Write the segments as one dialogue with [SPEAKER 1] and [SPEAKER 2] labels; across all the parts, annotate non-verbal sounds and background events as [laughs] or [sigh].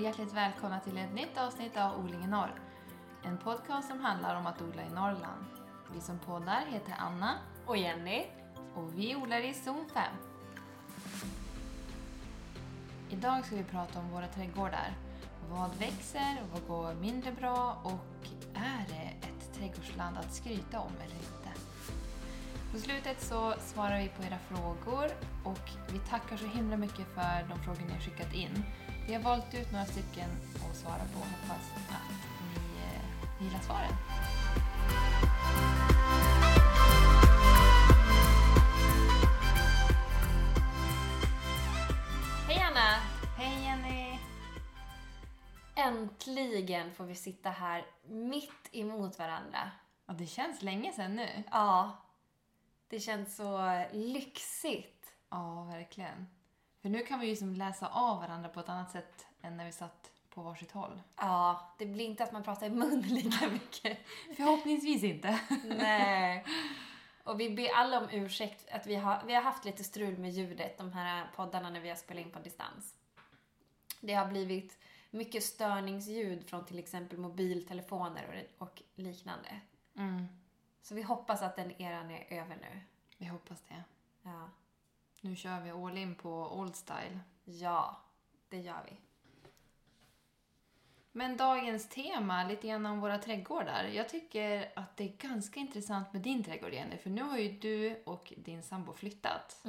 [SPEAKER 1] hjärtligt välkomna till ett nytt avsnitt av Odling i norr. En podcast som handlar om att odla i Norrland. Vi som poddar heter Anna
[SPEAKER 2] Och Jenny.
[SPEAKER 1] och vi odlar i zon 5. Idag ska vi prata om våra trädgårdar. Vad växer, vad går mindre bra och är det ett trädgårdsland att skryta om eller inte? På slutet så svarar vi på era frågor och vi tackar så himla mycket för de frågor ni har skickat in. Vi har valt ut några stycken att svara på och hoppas att ni eh, gillar svaren.
[SPEAKER 2] Hej Anna!
[SPEAKER 1] Hej Jenny!
[SPEAKER 2] Äntligen får vi sitta här mitt emot varandra.
[SPEAKER 1] Ja, det känns länge sedan nu.
[SPEAKER 2] Ja, det känns så lyxigt.
[SPEAKER 1] Ja, verkligen. För nu kan vi ju som läsa av varandra på ett annat sätt än när vi satt på varsitt håll.
[SPEAKER 2] Ja, det blir inte att man pratar i mun [laughs] lika mycket.
[SPEAKER 1] Förhoppningsvis inte.
[SPEAKER 2] Nej. Och vi ber alla om ursäkt att vi har, vi har haft lite strul med ljudet, de här poddarna när vi har spelat in på distans. Det har blivit mycket störningsljud från till exempel mobiltelefoner och, och liknande.
[SPEAKER 1] Mm,
[SPEAKER 2] Så vi hoppas att den eran är över nu.
[SPEAKER 1] vi hoppas det.
[SPEAKER 2] Ja.
[SPEAKER 1] Nu kör vi all in på old style.
[SPEAKER 2] Ja, det gör vi.
[SPEAKER 1] Men dagens tema, lite grann om våra trädgårdar. Jag tycker att det är ganska intressant med din trädgård Jenny, för nu har ju du och din sambo flyttat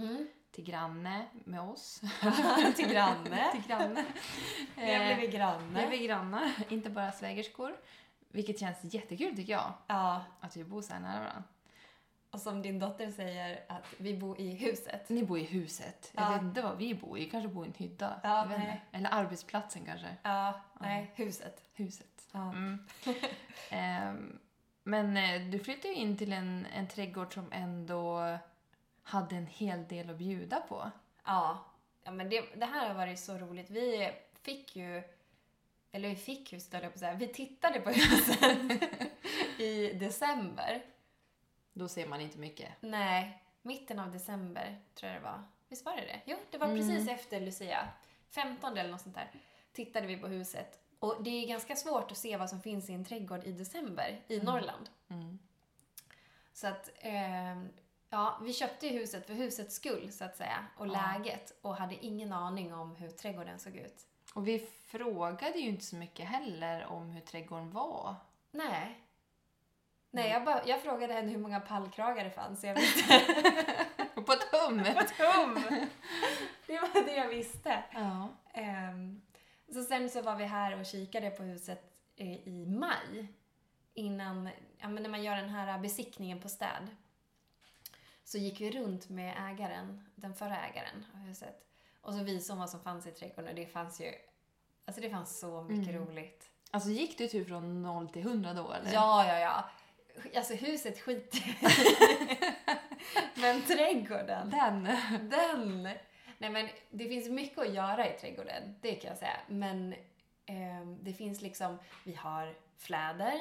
[SPEAKER 1] till granne med oss.
[SPEAKER 2] [laughs] Till
[SPEAKER 1] [laughs]
[SPEAKER 2] granne.
[SPEAKER 1] till granne. Eh,
[SPEAKER 2] Jag blev
[SPEAKER 1] Nu är
[SPEAKER 2] granne.
[SPEAKER 1] vi grannar, inte bara svägerskor. Vilket känns jättekul tycker jag,
[SPEAKER 2] Ja,
[SPEAKER 1] att vi bor så här nära varandra.
[SPEAKER 2] och som din dotter säger att vi bor i huset.
[SPEAKER 1] Ni bor i huset. Jag
[SPEAKER 2] Ja.
[SPEAKER 1] vet inte vad vi bor i. Vi kanske bor i en hydda.
[SPEAKER 2] Ja,
[SPEAKER 1] Jag vet inte.
[SPEAKER 2] nej.
[SPEAKER 1] Eller arbetsplatsen kanske.
[SPEAKER 2] Ja, nej, huset.
[SPEAKER 1] Huset.
[SPEAKER 2] Ja.
[SPEAKER 1] Mm. Ehm, men eh, du flyttade ju in till en, en trädgård som ändå hade en hel del att bjuda på.
[SPEAKER 2] Ja, ja men det, det här har varit så roligt. Vi fick ju, eller vi fick huset höll jag på att säga, vi tittade på huset i december.
[SPEAKER 1] Då ser man inte mycket.
[SPEAKER 2] Nej, mitten av december tror jag det var. Visst var det det? Jo, det var precis efter Lucia. 15 eller något sånt där. Tittade vi på huset. Och det är ganska svårt att se vad som finns i en trädgård i december i Norrland.
[SPEAKER 1] Mm.
[SPEAKER 2] Så att, ehm, ja, vi köpte ju huset för husets skull så att säga. Och läget. Och hade ingen aning om hur trädgården såg ut.
[SPEAKER 1] Och vi frågade ju inte så mycket heller om hur trädgården var.
[SPEAKER 2] Nej. Nej, jag, bara, jag frågade henne hur många pallkragar det fanns. Jag visste
[SPEAKER 1] [laughs] På ett hum!
[SPEAKER 2] tom. Det var det jag visste.
[SPEAKER 1] ja.
[SPEAKER 2] Ehm, så sen så var vi här och kikade på huset eh, i maj. Innan, ja men när man gör den här besiktningen på städ. Så gick vi runt med ägaren, den förra ägaren av huset. Och så visade hon vad som fanns i trädgården och det fanns ju, alltså det fanns så mycket roligt.
[SPEAKER 1] Alltså gick du typ från 0 till 100 då eller?
[SPEAKER 2] Ja, ja, ja. Alltså huset skiter [laughs] Men trädgården,
[SPEAKER 1] Den! [laughs]
[SPEAKER 2] [laughs] den! Nej men det finns mycket att göra i trädgården, det kan jag säga. Men ehm, det finns liksom, vi har fläder,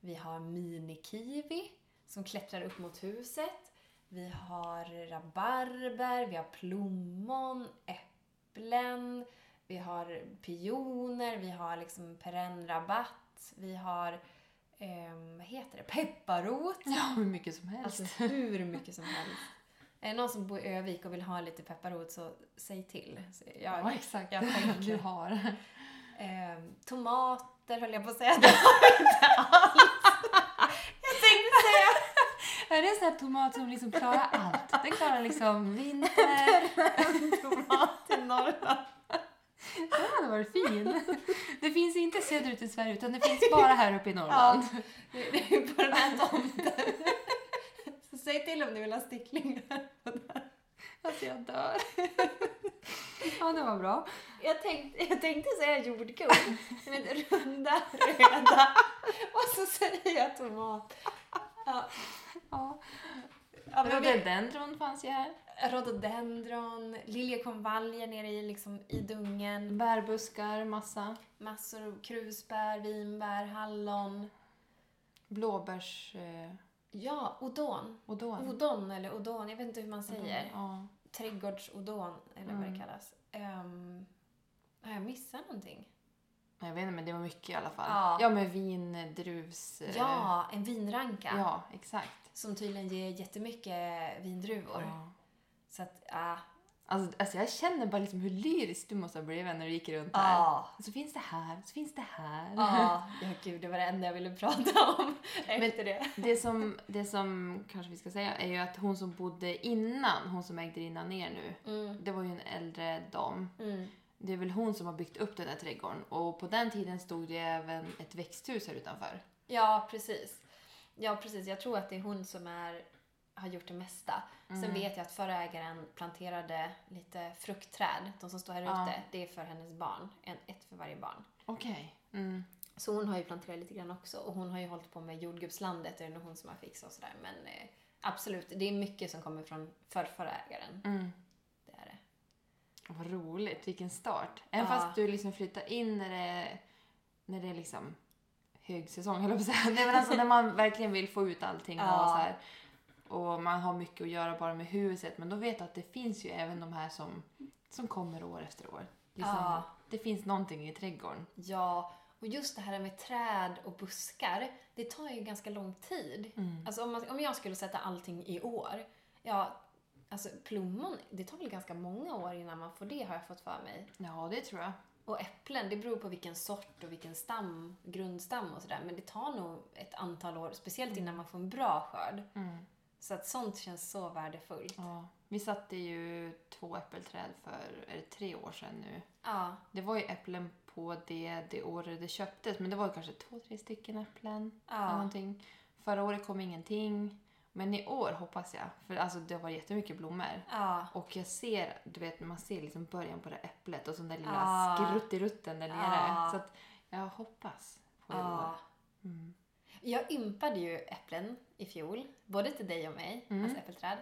[SPEAKER 2] vi har minikiwi som klättrar upp mot huset. Vi har rabarber, vi har plommon, äpplen, vi har pioner, vi har liksom perennrabatt, vi har, ehm, vad heter det, pepparrot.
[SPEAKER 1] Ja, hur mycket som helst.
[SPEAKER 2] Alltså hur mycket [laughs] som helst. Är det någon som bor i Övik och vill ha lite pepparrot så säg till. Så jag,
[SPEAKER 1] ja, exakt.
[SPEAKER 2] jag tänker.
[SPEAKER 1] Du har.
[SPEAKER 2] ehm, tomater höll jag på att säga. Det har jag inte alls. Jag tänkte säga
[SPEAKER 1] Är det en sån här tomat som liksom klarar allt? Den klarar liksom vinter.
[SPEAKER 2] tomat i [laughs] Norrland.
[SPEAKER 1] Den hade varit fin. Det finns inte söderut i Sverige utan det finns bara här uppe i Norrland.
[SPEAKER 2] Det det är på den här tomten. [laughs] Så säg till om ni vill ha sticklingar.
[SPEAKER 1] Alltså jag dör. Ja, det var bra.
[SPEAKER 2] Jag tänkte, jag tänkte säga jordgubb. Men runda, röda. Och så säger jag tomat.
[SPEAKER 1] Ja.
[SPEAKER 2] Ja, men vi-
[SPEAKER 1] Rhododendron fanns ju här.
[SPEAKER 2] rhododendron, liljekonvaljer nere i, liksom, i dungen,
[SPEAKER 1] Bärbuskar, massa.
[SPEAKER 2] massor av krusbär, vinbär, hallon.
[SPEAKER 1] Blåbärs... Eh,
[SPEAKER 2] Ja, odon.
[SPEAKER 1] odon.
[SPEAKER 2] Odon eller odon, jag vet inte hur man säger.
[SPEAKER 1] Ja.
[SPEAKER 2] Trädgårdsodon eller vad
[SPEAKER 1] Mm.
[SPEAKER 2] det kallas. Ehm, har jag missat någonting?
[SPEAKER 1] Jag vet inte, men det var mycket i alla fall.
[SPEAKER 2] Ja.
[SPEAKER 1] ja men vin, druvs... eh,
[SPEAKER 2] Ja, en vinranka.
[SPEAKER 1] ja exakt.
[SPEAKER 2] Som tydligen ger jättemycket vindruvor.
[SPEAKER 1] Ja.
[SPEAKER 2] Så att, ja.
[SPEAKER 1] Alltså, alltså jag känner bara liksom hur lyrisk du måste ha blivit när du gick runt här.
[SPEAKER 2] Ja,
[SPEAKER 1] Så finns det här, så finns det här.
[SPEAKER 2] ja. [laughs] Ja, gud, det var det enda jag ville prata om [laughs] efter det.
[SPEAKER 1] [laughs] Det som, det som kanske vi ska säga är ju att hon som bodde innan, hon som ägde rinna ner nu,
[SPEAKER 2] Mm.
[SPEAKER 1] det var ju en äldre dam.
[SPEAKER 2] Mm.
[SPEAKER 1] Det är väl hon som har byggt upp den här trädgården och på den tiden stod det även ett växthus här utanför.
[SPEAKER 2] Ja, precis. Ja, precis. Jag tror att det är hon som är, har gjort det mesta.
[SPEAKER 1] Mm.
[SPEAKER 2] Sen vet jag att förra ägaren planterade lite fruktträd. De som står här
[SPEAKER 1] Ja.
[SPEAKER 2] ute, det är för hennes barn. En, ett för varje barn.
[SPEAKER 1] Okej. Mm.
[SPEAKER 2] Så hon har ju planterat lite grann också. Och hon har ju hållit på med jordgubbslandet. Det är nog hon som har fixat och sådär. Men eh, absolut, det är mycket som kommer från förrförra ägaren.
[SPEAKER 1] Mm.
[SPEAKER 2] Det är det.
[SPEAKER 1] Vad roligt, vilken start. Även
[SPEAKER 2] Ja.
[SPEAKER 1] fast du liksom flyttar in när det, när det är liksom högsäsong, höll jag på att säga. [laughs] Nej, men alltså när man verkligen vill få ut allting
[SPEAKER 2] Ja.
[SPEAKER 1] och så här. Och man har mycket att göra bara med huset. Men då vet jag att det finns ju även de här som, som kommer år efter år. Liksom,
[SPEAKER 2] Ja.
[SPEAKER 1] Det finns någonting i trädgården.
[SPEAKER 2] Ja, och just det här med träd och buskar. Det tar ju ganska lång tid.
[SPEAKER 1] Mm.
[SPEAKER 2] Alltså om, man, om jag skulle sätta allting i år, ja, alltså plommon, det tar väl ganska många år innan man får det har jag fått för mig.
[SPEAKER 1] Ja, det tror jag.
[SPEAKER 2] Och äpplen, det beror på vilken sort och vilken stam, grundstam och sådär, men det tar nog ett antal år, speciellt innan man får en bra skörd.
[SPEAKER 1] Mm.
[SPEAKER 2] Så att sånt känns så värdefullt.
[SPEAKER 1] Ja. Vi satte ju två äppelträd för är det tre år sedan nu.
[SPEAKER 2] Ja,
[SPEAKER 1] Det var ju äpplen på det, det året det köptes, men det var ju kanske två, tre stycken äpplen. eller
[SPEAKER 2] ja,
[SPEAKER 1] någonting. Förra året kom ingenting. Men i år hoppas jag. För alltså, det var jättemycket blommor.
[SPEAKER 2] ja,
[SPEAKER 1] Och jag ser, du vet, man ser liksom början på det här äpplet och så den där lilla
[SPEAKER 2] Ah.
[SPEAKER 1] skrutt-i-rutten där nere.
[SPEAKER 2] Ah.
[SPEAKER 1] Så att jag hoppas på i år.
[SPEAKER 2] ja.
[SPEAKER 1] Mm.
[SPEAKER 2] Jag ympade ju äpplen i fjol, både till dig och mig,
[SPEAKER 1] Mm.
[SPEAKER 2] alltså äppelträd.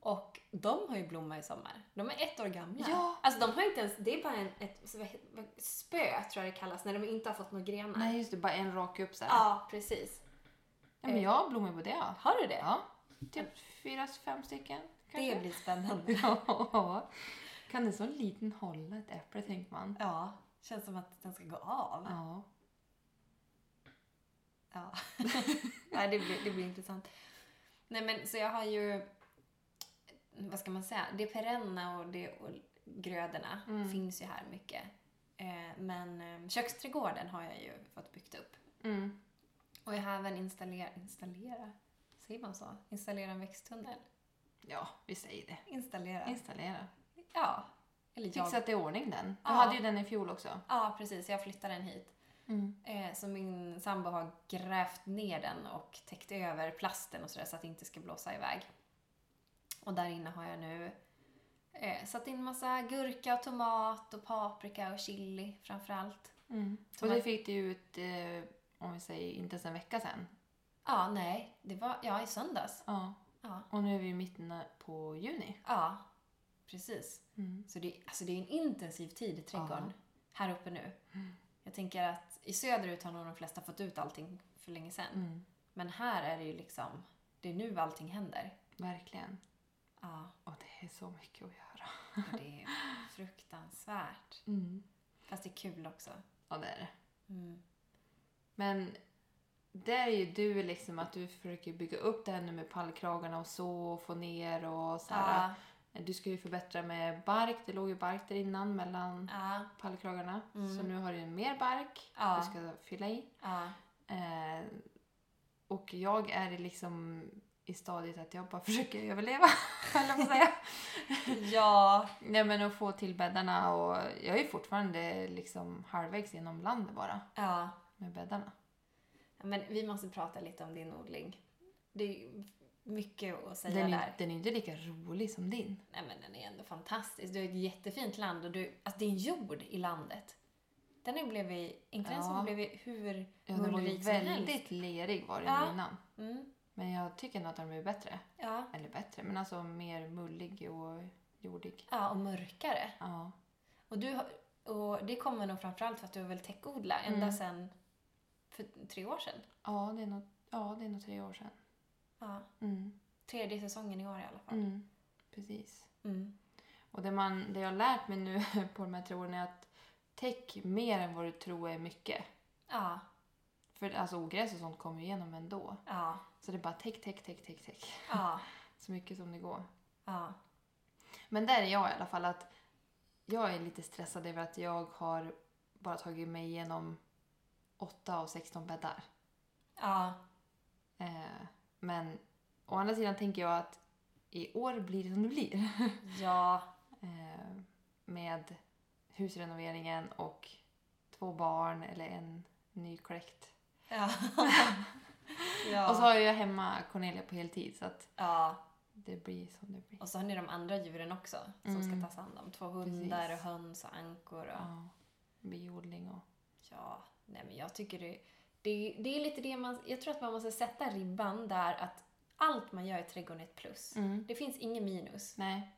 [SPEAKER 2] Och de har ju blommat i sommar. De är ett år gamla.
[SPEAKER 1] Ja.
[SPEAKER 2] Alltså de har inte ens, det är bara en, ett så vad he- vad- spö tror jag det kallas, när de inte har fått några grenar.
[SPEAKER 1] Nej, just det. Bara en rak upp så här.
[SPEAKER 2] Ja, precis.
[SPEAKER 1] Ja, men jag blommar på det. Ja.
[SPEAKER 2] Har du det?
[SPEAKER 1] ja. Typ fyra, fem stycken kanske.
[SPEAKER 2] det blir spännande.
[SPEAKER 1] [laughs] Ja. Kan en sån liten hålla ett äpple, tänker man.
[SPEAKER 2] Ja, känns som att den ska gå av.
[SPEAKER 1] Ja. [laughs]
[SPEAKER 2] Ja. Nej, det blir, det blir intressant. Nej men så jag har ju, vad ska man säga, det perenna och, det, och grödorna
[SPEAKER 1] Mm.
[SPEAKER 2] finns ju här mycket. Eh, men eh, köksträdgården har jag ju fått byggt upp.
[SPEAKER 1] Mm.
[SPEAKER 2] Och jag har även installerat, installera, säger man så? Installera en växttunnel?
[SPEAKER 1] Ja, vi säger det.
[SPEAKER 2] Installera.
[SPEAKER 1] Installera.
[SPEAKER 2] ja. Eller jag.
[SPEAKER 1] Fixat i ordning den. Du
[SPEAKER 2] Ja.
[SPEAKER 1] hade ju den i fjol också.
[SPEAKER 2] Ja, precis. Jag flyttade den hit.
[SPEAKER 1] Mm,
[SPEAKER 2] Eh, så min sambo har grävt ner den och täckt över plasten och sådär så att det inte ska blåsa iväg. Och där inne har jag nu eh, satt in massa gurka och tomat och paprika och chili framförallt.
[SPEAKER 1] mm. Och det fick du ut, eh, om vi säger inte ens en vecka sedan.
[SPEAKER 2] Ja, nej, det var ja, i söndags.
[SPEAKER 1] Ja.
[SPEAKER 2] Ja,
[SPEAKER 1] Och nu är vi i mitten på juni.
[SPEAKER 2] ja precis. Så det, alltså det är en intensiv tid i trädgården här uppe nu. Jag tänker att i söderut har nog de flesta fått ut allting för länge sedan.
[SPEAKER 1] Mm.
[SPEAKER 2] Men här är det ju liksom, det är nu allting händer.
[SPEAKER 1] Verkligen.
[SPEAKER 2] Ja.
[SPEAKER 1] Och det är så mycket att göra.
[SPEAKER 2] Och det är fruktansvärt.
[SPEAKER 1] Mm.
[SPEAKER 2] Fast det är kul också.
[SPEAKER 1] Ja, det är det.
[SPEAKER 2] Mm.
[SPEAKER 1] Men där är ju du liksom att du försöker bygga upp det här nu med pallkragarna och så och få ner och så här.
[SPEAKER 2] Ja,
[SPEAKER 1] Du ska ju förbättra med bark. Det låg ju bark där innan mellan
[SPEAKER 2] ja,
[SPEAKER 1] pallkragarna. Så nu har du ju mer bark
[SPEAKER 2] Mm. Ja.
[SPEAKER 1] du ska fylla i.
[SPEAKER 2] ja,
[SPEAKER 1] Eh, och jag är liksom i stadiet att jag bara [laughs] försöker överleva, höll jag på att
[SPEAKER 2] [laughs]
[SPEAKER 1] säga.
[SPEAKER 2] ja.
[SPEAKER 1] Nej men att få till bäddarna och jag är ju fortfarande liksom halvvägs genom landet bara
[SPEAKER 2] ja.
[SPEAKER 1] med bäddarna.
[SPEAKER 2] Men vi måste prata lite om din odling. Det är mycket att säga
[SPEAKER 1] Den är,
[SPEAKER 2] där.
[SPEAKER 1] den är inte lika rolig som din.
[SPEAKER 2] Nej men den är ändå fantastisk. Du har ett jättefint land och du, alltså din jord i landet. Den har ju blivit, inte den som
[SPEAKER 1] Ja.
[SPEAKER 2] har blivit hur
[SPEAKER 1] Ja, den var ju
[SPEAKER 2] mullrik som helst.
[SPEAKER 1] väldigt lerig var den
[SPEAKER 2] Ja.
[SPEAKER 1] innan.
[SPEAKER 2] Mm.
[SPEAKER 1] Men jag tycker nog att den blir bättre.
[SPEAKER 2] Ja.
[SPEAKER 1] Eller bättre, men alltså mer mullig och jordig.
[SPEAKER 2] ja, och mörkare.
[SPEAKER 1] Ja.
[SPEAKER 2] Och, du, har- och det kommer nog framförallt för att du har väl täckodla ända
[SPEAKER 1] Mm.
[SPEAKER 2] sedan för tre år sedan.
[SPEAKER 1] Ja, det är nog, ja, det är nog tre år sedan.
[SPEAKER 2] Ja.
[SPEAKER 1] Mm.
[SPEAKER 2] Tredje säsongen i år i alla fall.
[SPEAKER 1] Mm. Precis.
[SPEAKER 2] Mm.
[SPEAKER 1] [laughs] Och det, man, det jag har lärt mig nu på de här tre åren är att Täck mer än vad du tror är mycket.
[SPEAKER 2] Ja,
[SPEAKER 1] För alltså ogräs och sånt kommer ju igenom ändå.
[SPEAKER 2] ja,
[SPEAKER 1] Så det är bara täck, täck, täck, täck, täck.
[SPEAKER 2] ja,
[SPEAKER 1] Så mycket som det går.
[SPEAKER 2] ja.
[SPEAKER 1] Men där är jag i alla fall att jag är lite stressad över att jag har bara tagit mig igenom 8 av 16 bäddar.
[SPEAKER 2] ja.
[SPEAKER 1] Eh, men å andra sidan tänker jag att i år blir det som det blir.
[SPEAKER 2] Ja,
[SPEAKER 1] Eh, med husrenoveringen och två barn eller en nykläckt.
[SPEAKER 2] ja.
[SPEAKER 1] [laughs]
[SPEAKER 2] ja.
[SPEAKER 1] Och så har jag hemma Cornelia på heltid så att
[SPEAKER 2] ja.
[SPEAKER 1] det blir som det blir.
[SPEAKER 2] Och så har ni de andra djuren också som
[SPEAKER 1] Mm.
[SPEAKER 2] ska tas hand om. Två hundar
[SPEAKER 1] Precis.
[SPEAKER 2] och höns och ankor. Och...
[SPEAKER 1] Ja. Biodling och...
[SPEAKER 2] Ja, nej men jag tycker det, det, det är lite det man... Jag tror att man måste sätta ribban där att allt man gör i trädgården är ett plus.
[SPEAKER 1] Mm.
[SPEAKER 2] Det finns ingen minus.
[SPEAKER 1] Nej.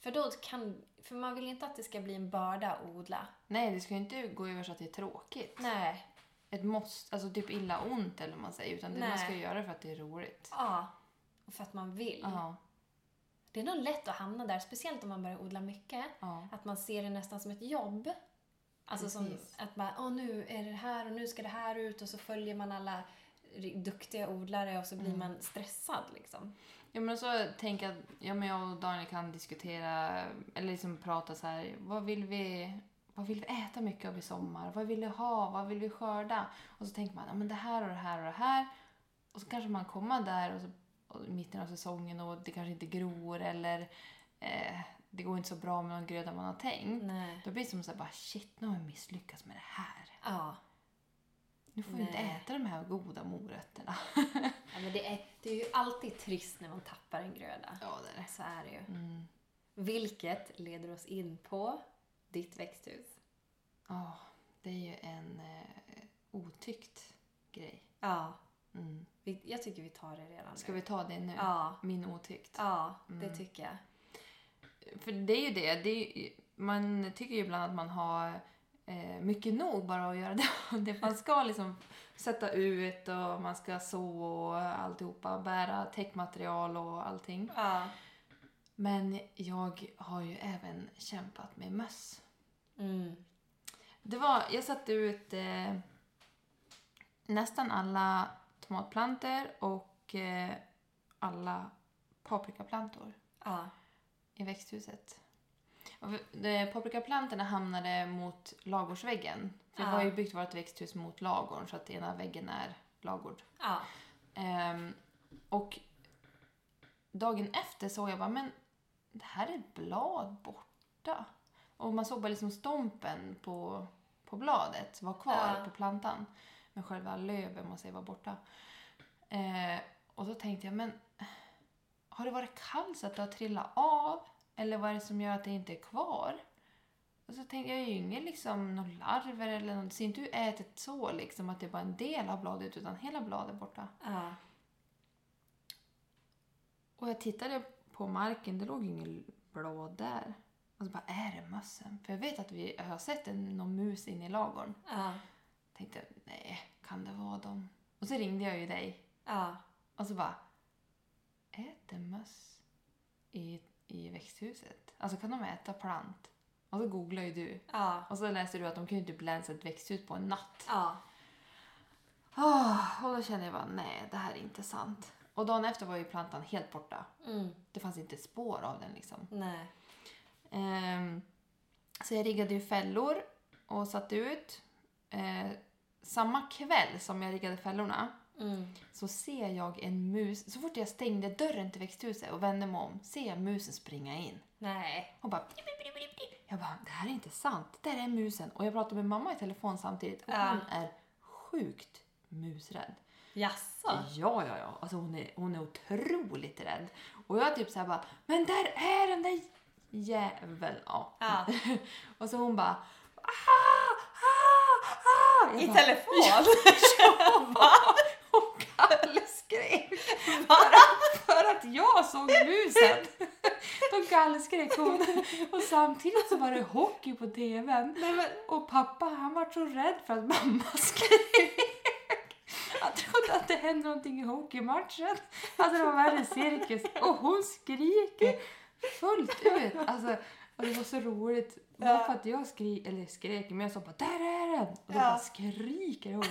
[SPEAKER 2] För då kan... För man vill ju inte att det ska bli en börda att odla.
[SPEAKER 1] Nej, det ska ju inte gå över så att det är tråkigt.
[SPEAKER 2] Nej.
[SPEAKER 1] Ett måste, alltså typ illa ont eller vad man säger. Utan det man
[SPEAKER 2] Nej.
[SPEAKER 1] ska göra för att det är roligt.
[SPEAKER 2] Ja. Och för att man vill.
[SPEAKER 1] Ja.
[SPEAKER 2] Det är nog lätt att hamna där, speciellt om man börjar odla mycket.
[SPEAKER 1] Ja.
[SPEAKER 2] Att man ser det nästan som ett jobb. Alltså som
[SPEAKER 1] Precis.
[SPEAKER 2] att bara, åh nu är det här och nu ska det här ut och så följer man alla ri- duktiga odlare och så
[SPEAKER 1] Mm.
[SPEAKER 2] blir man stressad liksom.
[SPEAKER 1] ja men så tänker jag att ja, men jag och Daniel kan diskutera eller liksom prata så här. Vad vill vi, vad vill vi äta mycket av i sommar? Vad vill vi ha? Vad vill vi skörda? Och så tänker man ja, men det här och det här och det här. Och så kanske man kommer där och så, och i mitten av säsongen och det kanske inte gror eller eh, det går inte så bra med någon gröda man har tänkt.
[SPEAKER 2] Nej.
[SPEAKER 1] Då blir det som så här, bara shit nu har jag misslyckats med det här.
[SPEAKER 2] Ja.
[SPEAKER 1] Nu får vi inte
[SPEAKER 2] Nej.
[SPEAKER 1] äta de här goda morötterna.
[SPEAKER 2] ja men det, är, det är ju alltid trist när man tappar en gröda.
[SPEAKER 1] Ja, det är det.
[SPEAKER 2] Så är det ju.
[SPEAKER 1] Mm.
[SPEAKER 2] Vilket leder oss in på ditt växthus.
[SPEAKER 1] Ja, det är ju en eh, otyckt grej.
[SPEAKER 2] Ja.
[SPEAKER 1] Mm.
[SPEAKER 2] Vi, jag tycker vi tar det redan
[SPEAKER 1] Ska
[SPEAKER 2] nu.
[SPEAKER 1] vi ta det Mm. nu?
[SPEAKER 2] Ja.
[SPEAKER 1] Min otyckt.
[SPEAKER 2] Ja, det tycker jag.
[SPEAKER 1] För det är ju det. det är ju, man tycker ju ibland att man har eh, mycket nog bara att göra det. [laughs] det. Man ska liksom sätta ut och man ska så och alltihopa. Bära täckmaterial och allting.
[SPEAKER 2] Ja.
[SPEAKER 1] Men jag har ju även kämpat med möss.
[SPEAKER 2] Mm.
[SPEAKER 1] Det var, jag satte ut eh, nästan alla tomatplanter och eh, alla paprikaplantor
[SPEAKER 2] Ja.
[SPEAKER 1] i växthuset. Och de, paprikaplantorna hamnade mot lagårdsväggen. För Vi
[SPEAKER 2] Ja.
[SPEAKER 1] har ju byggt vårt växthus mot lagården så att ena väggen är lagård.
[SPEAKER 2] Ja.
[SPEAKER 1] Ehm, och dagen efter såg jag bara, men det här är ett blad borta. Och man såg bara liksom stompen på, på bladet var kvar
[SPEAKER 2] Ja.
[SPEAKER 1] på plantan. Men själva löven, man säger, var borta. Eh, och då tänkte jag, men har det varit kallt så att det har trillat av? Eller vad är det som gör att det inte är kvar? Och så tänkte jag, jag är ju ingen liksom, någon larver eller något. Det ser inte ut ätet så liksom att det är bara en del av bladet utan hela bladet är borta.
[SPEAKER 2] Ja.
[SPEAKER 1] Och jag tittade på marken, det låg ju ingen blad där. Och så bara, är det mössen? För jag vet att vi jag har sett en, någon mus inne i lagården.
[SPEAKER 2] Ja.
[SPEAKER 1] Tänkte, nej, kan det vara dem? Och så ringde jag ju dig.
[SPEAKER 2] Ja.
[SPEAKER 1] Och så bara, äter möss i, i växthuset? Alltså kan de äta plant? Och så googlade ju du.
[SPEAKER 2] Ja.
[SPEAKER 1] Och så läste du att de kan ju typ länsa ett växthus på en natt.
[SPEAKER 2] Ja.
[SPEAKER 1] Åh, och då kände jag bara, nej, det här är inte sant. Och dagen efter var ju plantan helt borta.
[SPEAKER 2] Mm.
[SPEAKER 1] Det fanns inte spår av den liksom.
[SPEAKER 2] Nej.
[SPEAKER 1] Ehm, så jag riggade ju fällor och satte ut. Eh, samma kväll som jag riggade fällorna
[SPEAKER 2] Mm.
[SPEAKER 1] så ser jag en mus. Så fort jag stängde dörren till växthuset och vände mig om ser jag musen springa in.
[SPEAKER 2] Nej.
[SPEAKER 1] Hon bara... Jag bara, det här är inte sant. Det där är musen. Och jag pratade med mamma i telefon samtidigt och
[SPEAKER 2] Ja.
[SPEAKER 1] hon är sjukt musrädd.
[SPEAKER 2] Jaså?
[SPEAKER 1] Ja, ja, ja. Alltså hon är, hon är otroligt rädd. Och jag typ såhär bara, men där är den där jäveln. Ja.
[SPEAKER 2] Ja.
[SPEAKER 1] [laughs] Och så hon bara, ah, ah, ah. Jag
[SPEAKER 2] I
[SPEAKER 1] bara,
[SPEAKER 2] [laughs] telefon?
[SPEAKER 1] Hon gallskrek. Bara för att jag såg musen. Då gallskrek hon. Och samtidigt så var det hockey på TVn.
[SPEAKER 2] Nej men,
[SPEAKER 1] Och pappa han var så rädd för att mamma [laughs] skrek. Han trodde att det hände någonting i hockeymatchen. Alltså det var värre cirkus. Och hon skriker fullt ut. Alltså Och det var så roligt.
[SPEAKER 2] Ja.
[SPEAKER 1] Bara för att jag skri eller skrek, men jag sa bara där är den! Och då
[SPEAKER 2] Ja.
[SPEAKER 1] bara skriker hon.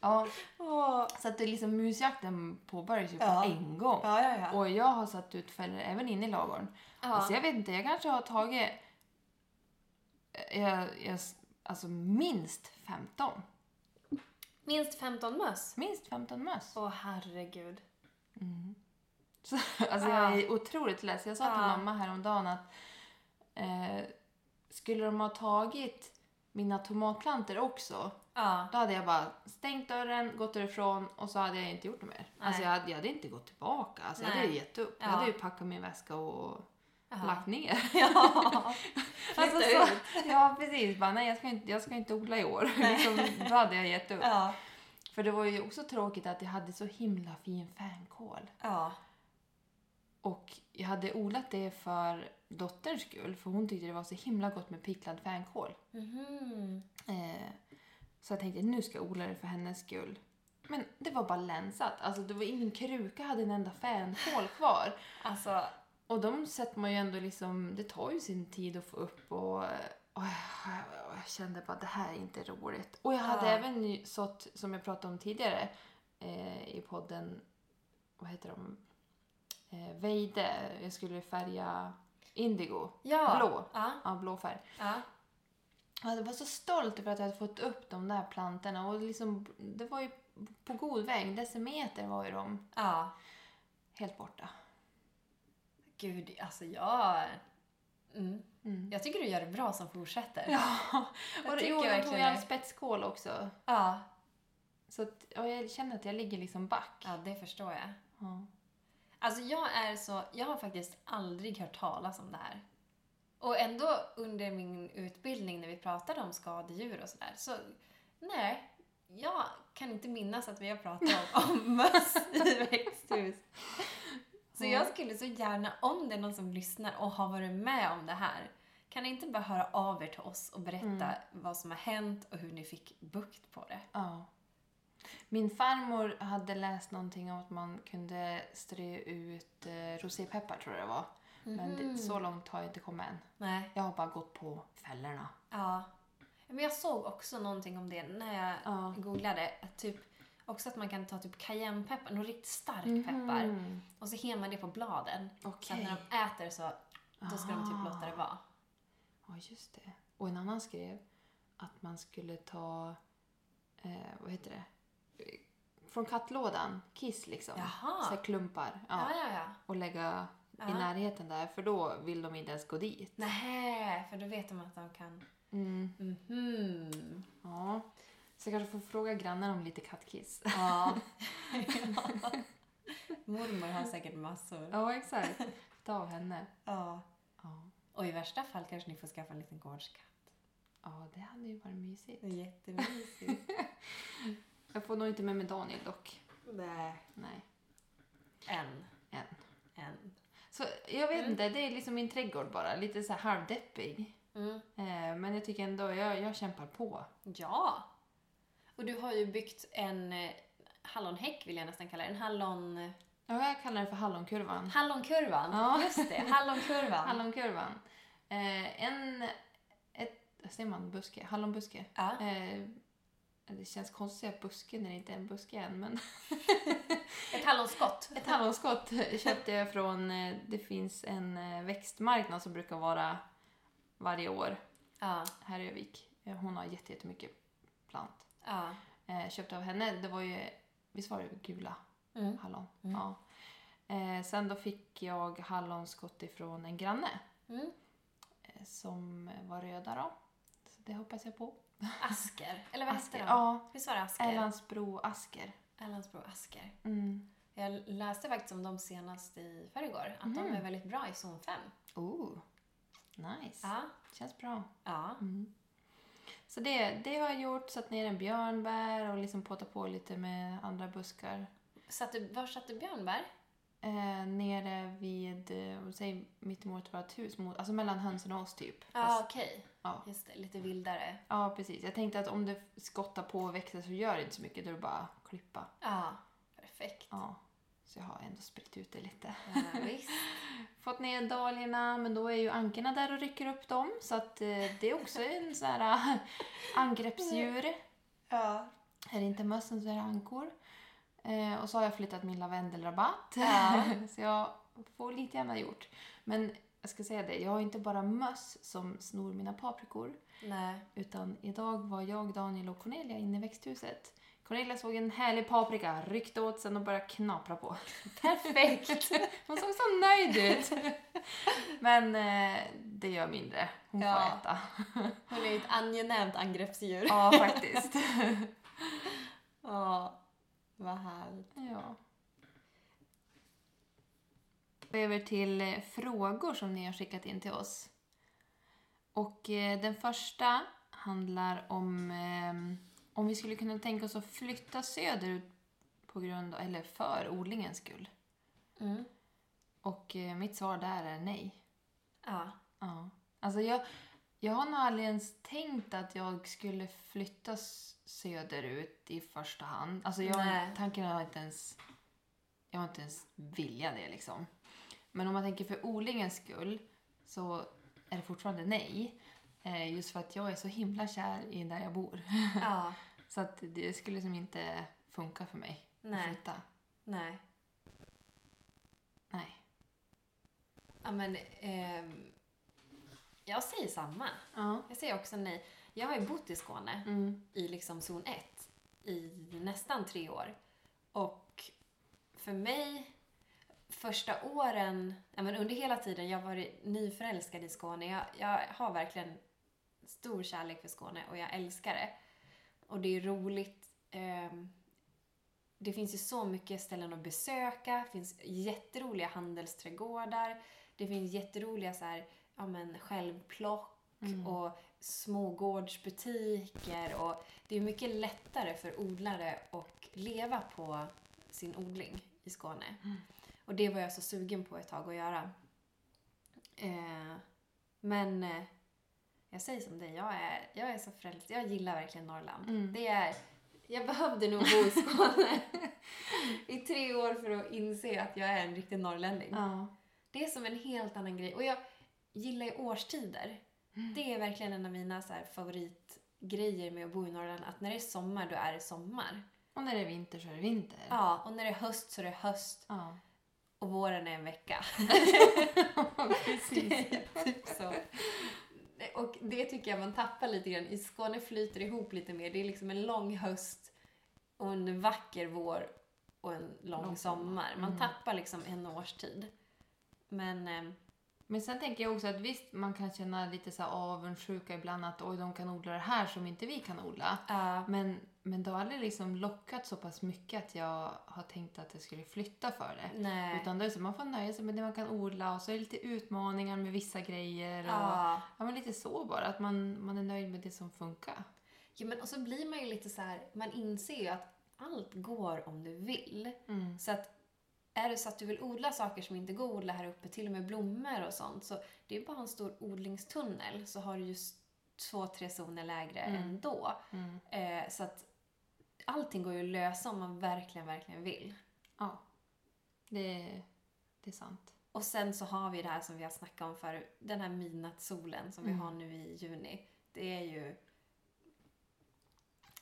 [SPEAKER 1] ja,
[SPEAKER 2] Åh.
[SPEAKER 1] så att det är liksom musjakten påbörjas ju på
[SPEAKER 2] Ja.
[SPEAKER 1] en gång.
[SPEAKER 2] Ja, ja, ja.
[SPEAKER 1] Och jag har satt ut fällor även inne i ladugården. Alltså
[SPEAKER 2] ja.
[SPEAKER 1] jag vet inte, jag kanske har tagit eh, jag, jag, alltså minst 15.
[SPEAKER 2] Minst 15 möss.
[SPEAKER 1] Minst 15 möss.
[SPEAKER 2] Åh herregud.
[SPEAKER 1] Så, alltså
[SPEAKER 2] Ja.
[SPEAKER 1] jag är otroligt less. Jag sa till
[SPEAKER 2] Ja.
[SPEAKER 1] mamma häromdagen att eh, skulle de ha tagit mina tomatplantor också,
[SPEAKER 2] Ja.
[SPEAKER 1] då hade jag bara stängt dörren, gått därifrån och så hade jag inte gjort det mer. Alltså
[SPEAKER 2] Nej.
[SPEAKER 1] jag hade, jag hade inte gått tillbaka. Alltså jag
[SPEAKER 2] Nej.
[SPEAKER 1] hade gett upp. Jag
[SPEAKER 2] Ja.
[SPEAKER 1] hade ju packat min väska och
[SPEAKER 2] Ja.
[SPEAKER 1] lagt ner.
[SPEAKER 2] [laughs] Ja.
[SPEAKER 1] Alltså,
[SPEAKER 2] Flytta
[SPEAKER 1] så, [laughs] ja, precis. Bara, nej, jag ska, inte, jag ska inte odla i år. [laughs] liksom, då hade jag gett upp.
[SPEAKER 2] Ja.
[SPEAKER 1] För det var ju också tråkigt att jag hade så himla fin fänkål.
[SPEAKER 2] Ja.
[SPEAKER 1] Och jag hade odlat det för dotterns skull, för hon tyckte det var så himla gott med picklad fänkål.
[SPEAKER 2] Mhm.
[SPEAKER 1] Eh, så jag tänkte nu ska jag odla det för hennes skull. Men det var bara länsat. Alltså det var ingen kruka hade en enda fänkål kvar.
[SPEAKER 2] Alltså,
[SPEAKER 1] Och de sätter man ju ändå liksom, det tar ju sin tid att få upp och, och, jag, och jag kände bara det här är inte roligt. Och jag hade
[SPEAKER 2] Ja.
[SPEAKER 1] även ny- sått, som jag pratade om tidigare eh, i podden, vad heter de? Eh, Veide, jag skulle färga indigo,
[SPEAKER 2] ja.
[SPEAKER 1] Blå.
[SPEAKER 2] Ja.
[SPEAKER 1] ja blå färg.
[SPEAKER 2] ja.
[SPEAKER 1] Ja, Jag var så stolt över att jag hade fått upp de där plantorna och liksom, det var ju på god väg, decimeter var ju de
[SPEAKER 2] ja.
[SPEAKER 1] helt borta.
[SPEAKER 2] Gud, alltså jag... Mm.
[SPEAKER 1] Mm.
[SPEAKER 2] Jag tycker du gör det bra som fortsätter.
[SPEAKER 1] Ja,
[SPEAKER 2] Jag
[SPEAKER 1] och det-
[SPEAKER 2] tycker
[SPEAKER 1] jo, jag tog
[SPEAKER 2] verkligen
[SPEAKER 1] jag en
[SPEAKER 2] det.
[SPEAKER 1] spetskål också.
[SPEAKER 2] Ja.
[SPEAKER 1] Så att, ja, jag känner att jag ligger liksom back.
[SPEAKER 2] ja, det förstår jag.
[SPEAKER 1] Ja.
[SPEAKER 2] Alltså jag är så, jag har faktiskt aldrig hört talas om det här. Och ändå under min utbildning när vi pratade om skadedjur och sådär, så nej, jag kan inte minnas att vi har pratat om,
[SPEAKER 1] [laughs]
[SPEAKER 2] om möss i växthus. Så
[SPEAKER 1] Ja.
[SPEAKER 2] jag skulle så gärna, om det är någon som lyssnar och har varit med om det här, kan ni inte bara höra av er till oss och berätta
[SPEAKER 1] Mm.
[SPEAKER 2] vad som har hänt och hur ni fick bukt på det?
[SPEAKER 1] Ja. Min farmor hade läst någonting om att man kunde strö ut eh, rosépeppar tror jag det var. Men det,
[SPEAKER 2] Mhm.
[SPEAKER 1] så långt har jag inte kommit än.
[SPEAKER 2] Nej.
[SPEAKER 1] Jag har bara gått på fällorna.
[SPEAKER 2] Ja. Men jag såg också någonting om det när jag
[SPEAKER 1] Ja.
[SPEAKER 2] googlade. Att typ, också att man kan ta typ cayennepeppar, någon riktigt stark peppar.
[SPEAKER 1] Mhm.
[SPEAKER 2] Och så helar man det på bladen. Så att
[SPEAKER 1] Okej.
[SPEAKER 2] när de äter så, då ska de typ
[SPEAKER 1] Ah.
[SPEAKER 2] låta det vara.
[SPEAKER 1] Ja, just det. Och en annan skrev att man skulle ta, eh, vad heter det, Eh, från kattlådan, kiss liksom.
[SPEAKER 2] Jaha.
[SPEAKER 1] Så här klumpar.
[SPEAKER 2] Ja,
[SPEAKER 1] Ja,
[SPEAKER 2] ja, ja.
[SPEAKER 1] och lägga i
[SPEAKER 2] Ja.
[SPEAKER 1] närheten där för då vill de inte ens gå dit.
[SPEAKER 2] Nähä, för då vet de att de kan...
[SPEAKER 1] Mm.
[SPEAKER 2] Mhm.
[SPEAKER 1] Ja. Så jag kanske får fråga grannen om lite kattkiss.
[SPEAKER 2] Ja. [laughs] Mormor har säkert massor.
[SPEAKER 1] Ja, exakt. [laughs] Ta av henne.
[SPEAKER 2] Ja.
[SPEAKER 1] Ja.
[SPEAKER 2] Och i värsta fall kanske ni får skaffa en liten gårdskatt.
[SPEAKER 1] ja, det hade ju varit mysigt.
[SPEAKER 2] Jättemysigt.
[SPEAKER 1] Jag får nog inte med mig Daniel dock.
[SPEAKER 2] Nej.
[SPEAKER 1] Nej.
[SPEAKER 2] En.
[SPEAKER 1] Än.
[SPEAKER 2] En.
[SPEAKER 1] Så jag vet
[SPEAKER 2] Mm.
[SPEAKER 1] inte, det är liksom min trädgård bara. Lite så här halvdeppig.
[SPEAKER 2] Mm.
[SPEAKER 1] Eh, men jag tycker ändå, jag, jag kämpar på.
[SPEAKER 2] Ja! Och du har ju byggt en eh, hallonhäck vill jag nästan kalla det. En hallon...
[SPEAKER 1] Ja, jag kallar den för hallonkurvan.
[SPEAKER 2] Hallonkurvan!
[SPEAKER 1] Ja.
[SPEAKER 2] [laughs] Just det,
[SPEAKER 1] [laughs]
[SPEAKER 2] hallonkurvan.
[SPEAKER 1] Hallonkurvan. Eh, en... Ett, ser man buske? Hallonbuske?
[SPEAKER 2] Ja.
[SPEAKER 1] Eh, det känns konstigt att säga buske när det inte är en buske än, men [laughs]
[SPEAKER 2] Ett hallonskott.
[SPEAKER 1] ett hallonskott köpte jag från... eh, Det finns en eh, växtmarknad som brukar vara varje år
[SPEAKER 2] Ja,
[SPEAKER 1] här i Övik. Eh, Hon har jätte- jättemycket plant.
[SPEAKER 2] ja.
[SPEAKER 1] Eh, köpte av henne, det var ju... Visst var det gula
[SPEAKER 2] Mm.
[SPEAKER 1] hallon?
[SPEAKER 2] Mm.
[SPEAKER 1] Ja. Eh, sen då fick jag hallonskott ifrån en granne
[SPEAKER 2] Mm.
[SPEAKER 1] eh, som var röda då. Så det hoppas jag på.
[SPEAKER 2] Asker. Eller vad hette
[SPEAKER 1] Asker,
[SPEAKER 2] den?
[SPEAKER 1] Ja,
[SPEAKER 2] Visst var det Asker?
[SPEAKER 1] Älandsbro asker.
[SPEAKER 2] Älandsbro Asker.
[SPEAKER 1] Mm.
[SPEAKER 2] Jag läste faktiskt om dem senast i förrgår. Att de
[SPEAKER 1] Mhm.
[SPEAKER 2] är väldigt bra i zon 5.
[SPEAKER 1] Oh, nice.
[SPEAKER 2] Ja.
[SPEAKER 1] Känns bra.
[SPEAKER 2] Ja.
[SPEAKER 1] Mm. Så det, det har jag gjort, satt ner en björnbär och liksom påtat på lite med andra buskar.
[SPEAKER 2] Satte, var satte björnbär?
[SPEAKER 1] Eh, nere vid, eh, vad säger, mittemot vårt hus, mot, alltså mellan hönsen och oss typ.
[SPEAKER 2] Ja,
[SPEAKER 1] Fast-
[SPEAKER 2] okej.
[SPEAKER 1] Ja.
[SPEAKER 2] Just det, lite vildare.
[SPEAKER 1] ja, precis. Jag tänkte att om det skottar på och växer så gör det inte så mycket, då är det bara att klippa.
[SPEAKER 2] Ja, perfekt.
[SPEAKER 1] Ja. Så jag har ändå spritt ut det lite.
[SPEAKER 2] Ja, visst.
[SPEAKER 1] Fått ner dahliorna, men då är ju ankorna där och rycker upp dem. Så att eh, det är också en sån här [laughs] eh, angreppsdjur.
[SPEAKER 2] [laughs] Ja.
[SPEAKER 1] Är det inte mössen så är det ankor. Eh, och så har jag flyttat min lavendelrabatt.
[SPEAKER 2] Ja.
[SPEAKER 1] [laughs]
[SPEAKER 2] [laughs]
[SPEAKER 1] så jag får lite gärna gjort. Men jag ska säga det, jag har inte bara möss som snor mina paprikor.
[SPEAKER 2] Nej.
[SPEAKER 1] Utan idag var jag, Daniel och Cornelia inne i växthuset. Cornelia såg en härlig paprika, ryckte åt sen och började knapra på. [laughs] Perfekt! Hon såg så nöjd ut. Men eh, det gör mindre. Hon får
[SPEAKER 2] Ja.
[SPEAKER 1] äta.
[SPEAKER 2] Hon är ju ett angenämt angreppsdjur.
[SPEAKER 1] Ja, faktiskt.
[SPEAKER 2] Ja. Vad härligt.
[SPEAKER 1] Ja. Över till eh, frågor som ni har skickat in till oss. Och eh, den första handlar om eh, om vi skulle kunna tänka oss att flytta söderut på grund eller för odlingens skull.
[SPEAKER 2] Mm.
[SPEAKER 1] Och eh, mitt svar där är nej.
[SPEAKER 2] Ja.
[SPEAKER 1] Ja. Alltså jag, jag har nog aldrig ens tänkt att jag skulle flytta s- söderut i första hand. Alltså jag,
[SPEAKER 2] Nej.
[SPEAKER 1] tanken har inte ens... Jag har inte ens vilja det liksom. Men om man tänker för odlingens skull så är det fortfarande nej. Eh, just för att jag är så himla kär i där jag bor. [laughs]
[SPEAKER 2] Ja.
[SPEAKER 1] så att det skulle som inte funka för mig att
[SPEAKER 2] Nej.
[SPEAKER 1] flytta.
[SPEAKER 2] Nej.
[SPEAKER 1] Nej.
[SPEAKER 2] Ja, men, ehm, jag säger samma.
[SPEAKER 1] Ja.
[SPEAKER 2] Jag säger också nej. Jag har ju bott i Skåne,
[SPEAKER 1] Mm.
[SPEAKER 2] i liksom zon 1, i nästan tre år. Och för mig, första åren, ja, men under hela tiden, jag har varit nyförälskad i Skåne. Jag, jag har verkligen stor kärlek för Skåne och jag älskar det. Och det är roligt. ehm, det finns ju så mycket ställen att besöka. Det finns jätteroliga handelsträdgårdar. Det finns jätteroliga så här, ja, men självplock och smågårdsbutiker. Och det är mycket lättare för odlare att leva på sin odling i Skåne. Och det var jag så sugen på ett tag att göra. Eh, men eh, jag säger som dig, jag är, jag är så frälst. Jag gillar verkligen Norrland.
[SPEAKER 1] Mm.
[SPEAKER 2] Det är, jag behövde nog bo i Skåne [laughs] i tre år för att inse att jag är en riktig norrlänning.
[SPEAKER 1] Ja.
[SPEAKER 2] Det är som en helt annan grej. Och jag gillar ju årstider.
[SPEAKER 1] Mm.
[SPEAKER 2] Det är verkligen en av mina så här favoritgrejer med att bo i Norrland. Att när det är sommar, då är det sommar.
[SPEAKER 1] Och när det är vinter så är det vinter.
[SPEAKER 2] Ja, och när det är höst så är det höst.
[SPEAKER 1] ja. [laughs]
[SPEAKER 2] Och våren är en vecka.
[SPEAKER 1] Precis.
[SPEAKER 2] Det är [laughs] typ så. Och det tycker jag man tappar lite grann. I Skåne flyter det ihop lite mer. Det är liksom en lång höst och en vacker vår och en lång,
[SPEAKER 1] Lång
[SPEAKER 2] sommar. Man tappar liksom en årstid. Men eh,
[SPEAKER 1] Men sen tänker jag också att visst, man kan känna lite så här avundsjuka ibland att oj, de kan odla det här som inte vi kan odla.
[SPEAKER 2] ja,
[SPEAKER 1] Men, men det har aldrig liksom lockat så pass mycket att jag har tänkt att jag skulle flytta för det.
[SPEAKER 2] nej.
[SPEAKER 1] Utan det är så, man får nöja sig med det man kan odla och så är det lite utmaningar med vissa grejer. Och,
[SPEAKER 2] Ja.
[SPEAKER 1] ja, men lite så bara, att man, man är nöjd med det som funkar.
[SPEAKER 2] ja, men och så blir man ju lite så här, man inser ju att allt går om du vill.
[SPEAKER 1] Mm.
[SPEAKER 2] Så att är det så att du vill odla saker som inte går att odla här uppe, till och med blommor och sånt, så det är bara en stor odlingstunnel så har du ju s- två, tre zoner lägre
[SPEAKER 1] Mm.
[SPEAKER 2] ändå.
[SPEAKER 1] Mm.
[SPEAKER 2] Eh, så att allting går ju att lösa om man verkligen, verkligen vill.
[SPEAKER 1] Ja, det, det är sant.
[SPEAKER 2] Och sen så har vi det här som vi har snackat om förut, den här midnattssolen som vi har nu i juni. Det är ju...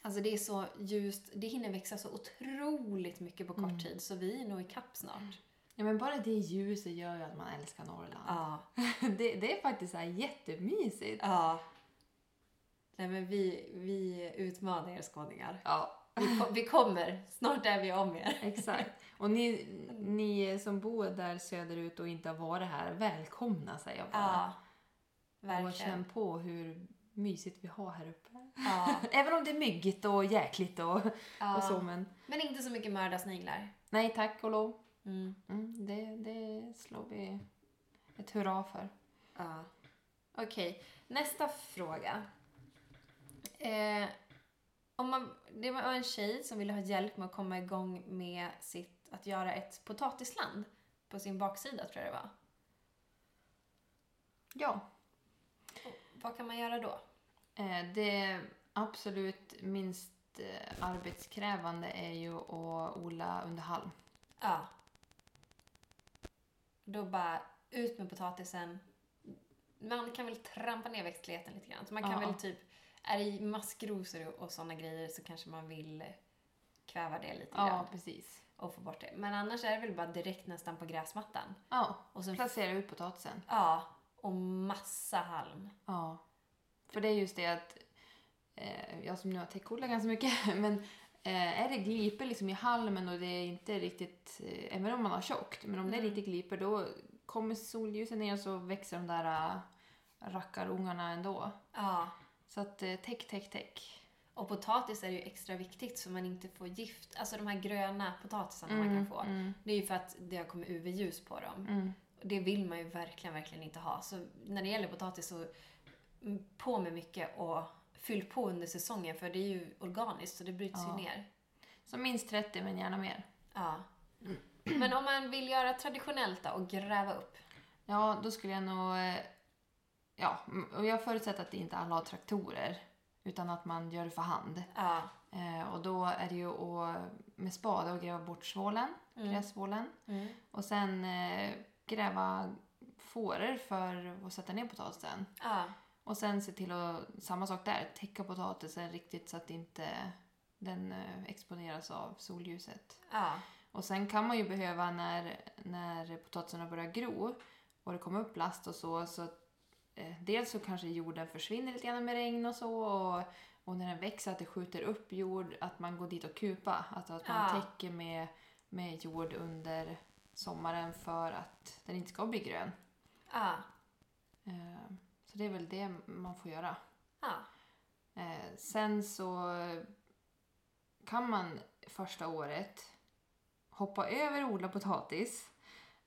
[SPEAKER 2] Alltså det är så ljust, det hinner växa så otroligt mycket på kort tid så vi är nog ikapp snart.
[SPEAKER 1] Ja, men bara det ljuset gör ju att man älskar Norrland.
[SPEAKER 2] Ja.
[SPEAKER 1] [laughs] Det, det är faktiskt så här jättemysigt.
[SPEAKER 2] Ja. Nej men vi, vi utmanar er skåningar.
[SPEAKER 1] Ja,
[SPEAKER 2] Vi, ko- vi kommer, snart är vi om er.
[SPEAKER 1] Exakt. Och ni, ni som bor där söderut och inte har varit här, välkomna säger jag bara. och känn
[SPEAKER 2] verkligen.
[SPEAKER 1] på hur mysigt vi har här uppe.
[SPEAKER 2] Ja,
[SPEAKER 1] Även om det är myggigt och jäkligt och, och så
[SPEAKER 2] ja.
[SPEAKER 1] men
[SPEAKER 2] Men inte så mycket mördarsniglar.
[SPEAKER 1] nej tack och lov.
[SPEAKER 2] Mm.
[SPEAKER 1] Mm, det, det slår vi ett hurra för.
[SPEAKER 2] Ja. Okej, nästa fråga. Eh, om man, det var en tjej som ville ha hjälp med att komma igång med sitt, att göra ett potatisland på sin baksida tror jag det var.
[SPEAKER 1] Ja,
[SPEAKER 2] Vad kan man göra då?
[SPEAKER 1] eh, det absolut minst eh, arbetskrävande är ju att odla under halm.
[SPEAKER 2] Ja, Då bara ut med potatisen. Man kan väl trampa ner växtligheten lite grann. Så man kan
[SPEAKER 1] Ja.
[SPEAKER 2] väl typ, är det maskrosor och, och sådana grejer så kanske man vill kväva det lite
[SPEAKER 1] Ja,
[SPEAKER 2] grann
[SPEAKER 1] precis.
[SPEAKER 2] och få bort det. Men annars är det väl bara direkt nästan på gräsmattan.
[SPEAKER 1] Ja,
[SPEAKER 2] Och sen,
[SPEAKER 1] placera ut potatisen.
[SPEAKER 2] ja, och massa halm.
[SPEAKER 1] Ja. För det är just det att eh, jag som nu har täckodlat ganska mycket, [laughs] men eh, är det glipor liksom i halmen och det är inte riktigt, eh, även om man har tjockt, men om det är
[SPEAKER 2] Mm.
[SPEAKER 1] riktigt glipor då kommer solljuset ner och så växer de där eh, rackarungarna ändå.
[SPEAKER 2] Ja.
[SPEAKER 1] Så att eh, täck, täck, täck.
[SPEAKER 2] Och potatis är ju extra viktigt så man inte får gift. Alltså de här gröna potatisarna man kan få.
[SPEAKER 1] Mm,
[SPEAKER 2] Det är ju för att det har kommit UV-ljus på dem.
[SPEAKER 1] mm.
[SPEAKER 2] Och det vill man ju verkligen, verkligen inte ha. Så när det gäller potatis så mm, på med mycket och fyll på under säsongen för det är ju organiskt så det bryts
[SPEAKER 1] Ja.
[SPEAKER 2] ju ner.
[SPEAKER 1] Så minst 30 men gärna mer.
[SPEAKER 2] Ja. Men om man vill göra traditionellt då och gräva upp.
[SPEAKER 1] Ja, då skulle jag nog... eh, Ja, m- och jag förutsätter att inte alla har traktorer utan att man gör det för hand.
[SPEAKER 2] Ja.
[SPEAKER 1] Eh, och då är det ju att med spade och gräva bort svålen, grässvålen.
[SPEAKER 2] Mm.
[SPEAKER 1] Och sen eh, gräva fåror för att sätta ner potatisen.
[SPEAKER 2] Ja.
[SPEAKER 1] Och sen se till att, samma sak där, täcka potatisen riktigt så att inte den eh, exponeras av solljuset.
[SPEAKER 2] Ja.
[SPEAKER 1] Och sen kan man ju behöva när, när potatisarna börjar gro och det kommer upp last och så, så att, eh, dels så kanske jorden försvinner lite grann med regn och så och, och när den växer att det skjuter upp jord, att man går dit och kupa, alltså att man
[SPEAKER 2] Ja.
[SPEAKER 1] täcker med, med jord under sommaren för att den inte ska bli grön.
[SPEAKER 2] Ja.
[SPEAKER 1] Eh, så det är väl det man får göra.
[SPEAKER 2] Ja.
[SPEAKER 1] Eh, sen så kan man första året hoppa över och odla potatis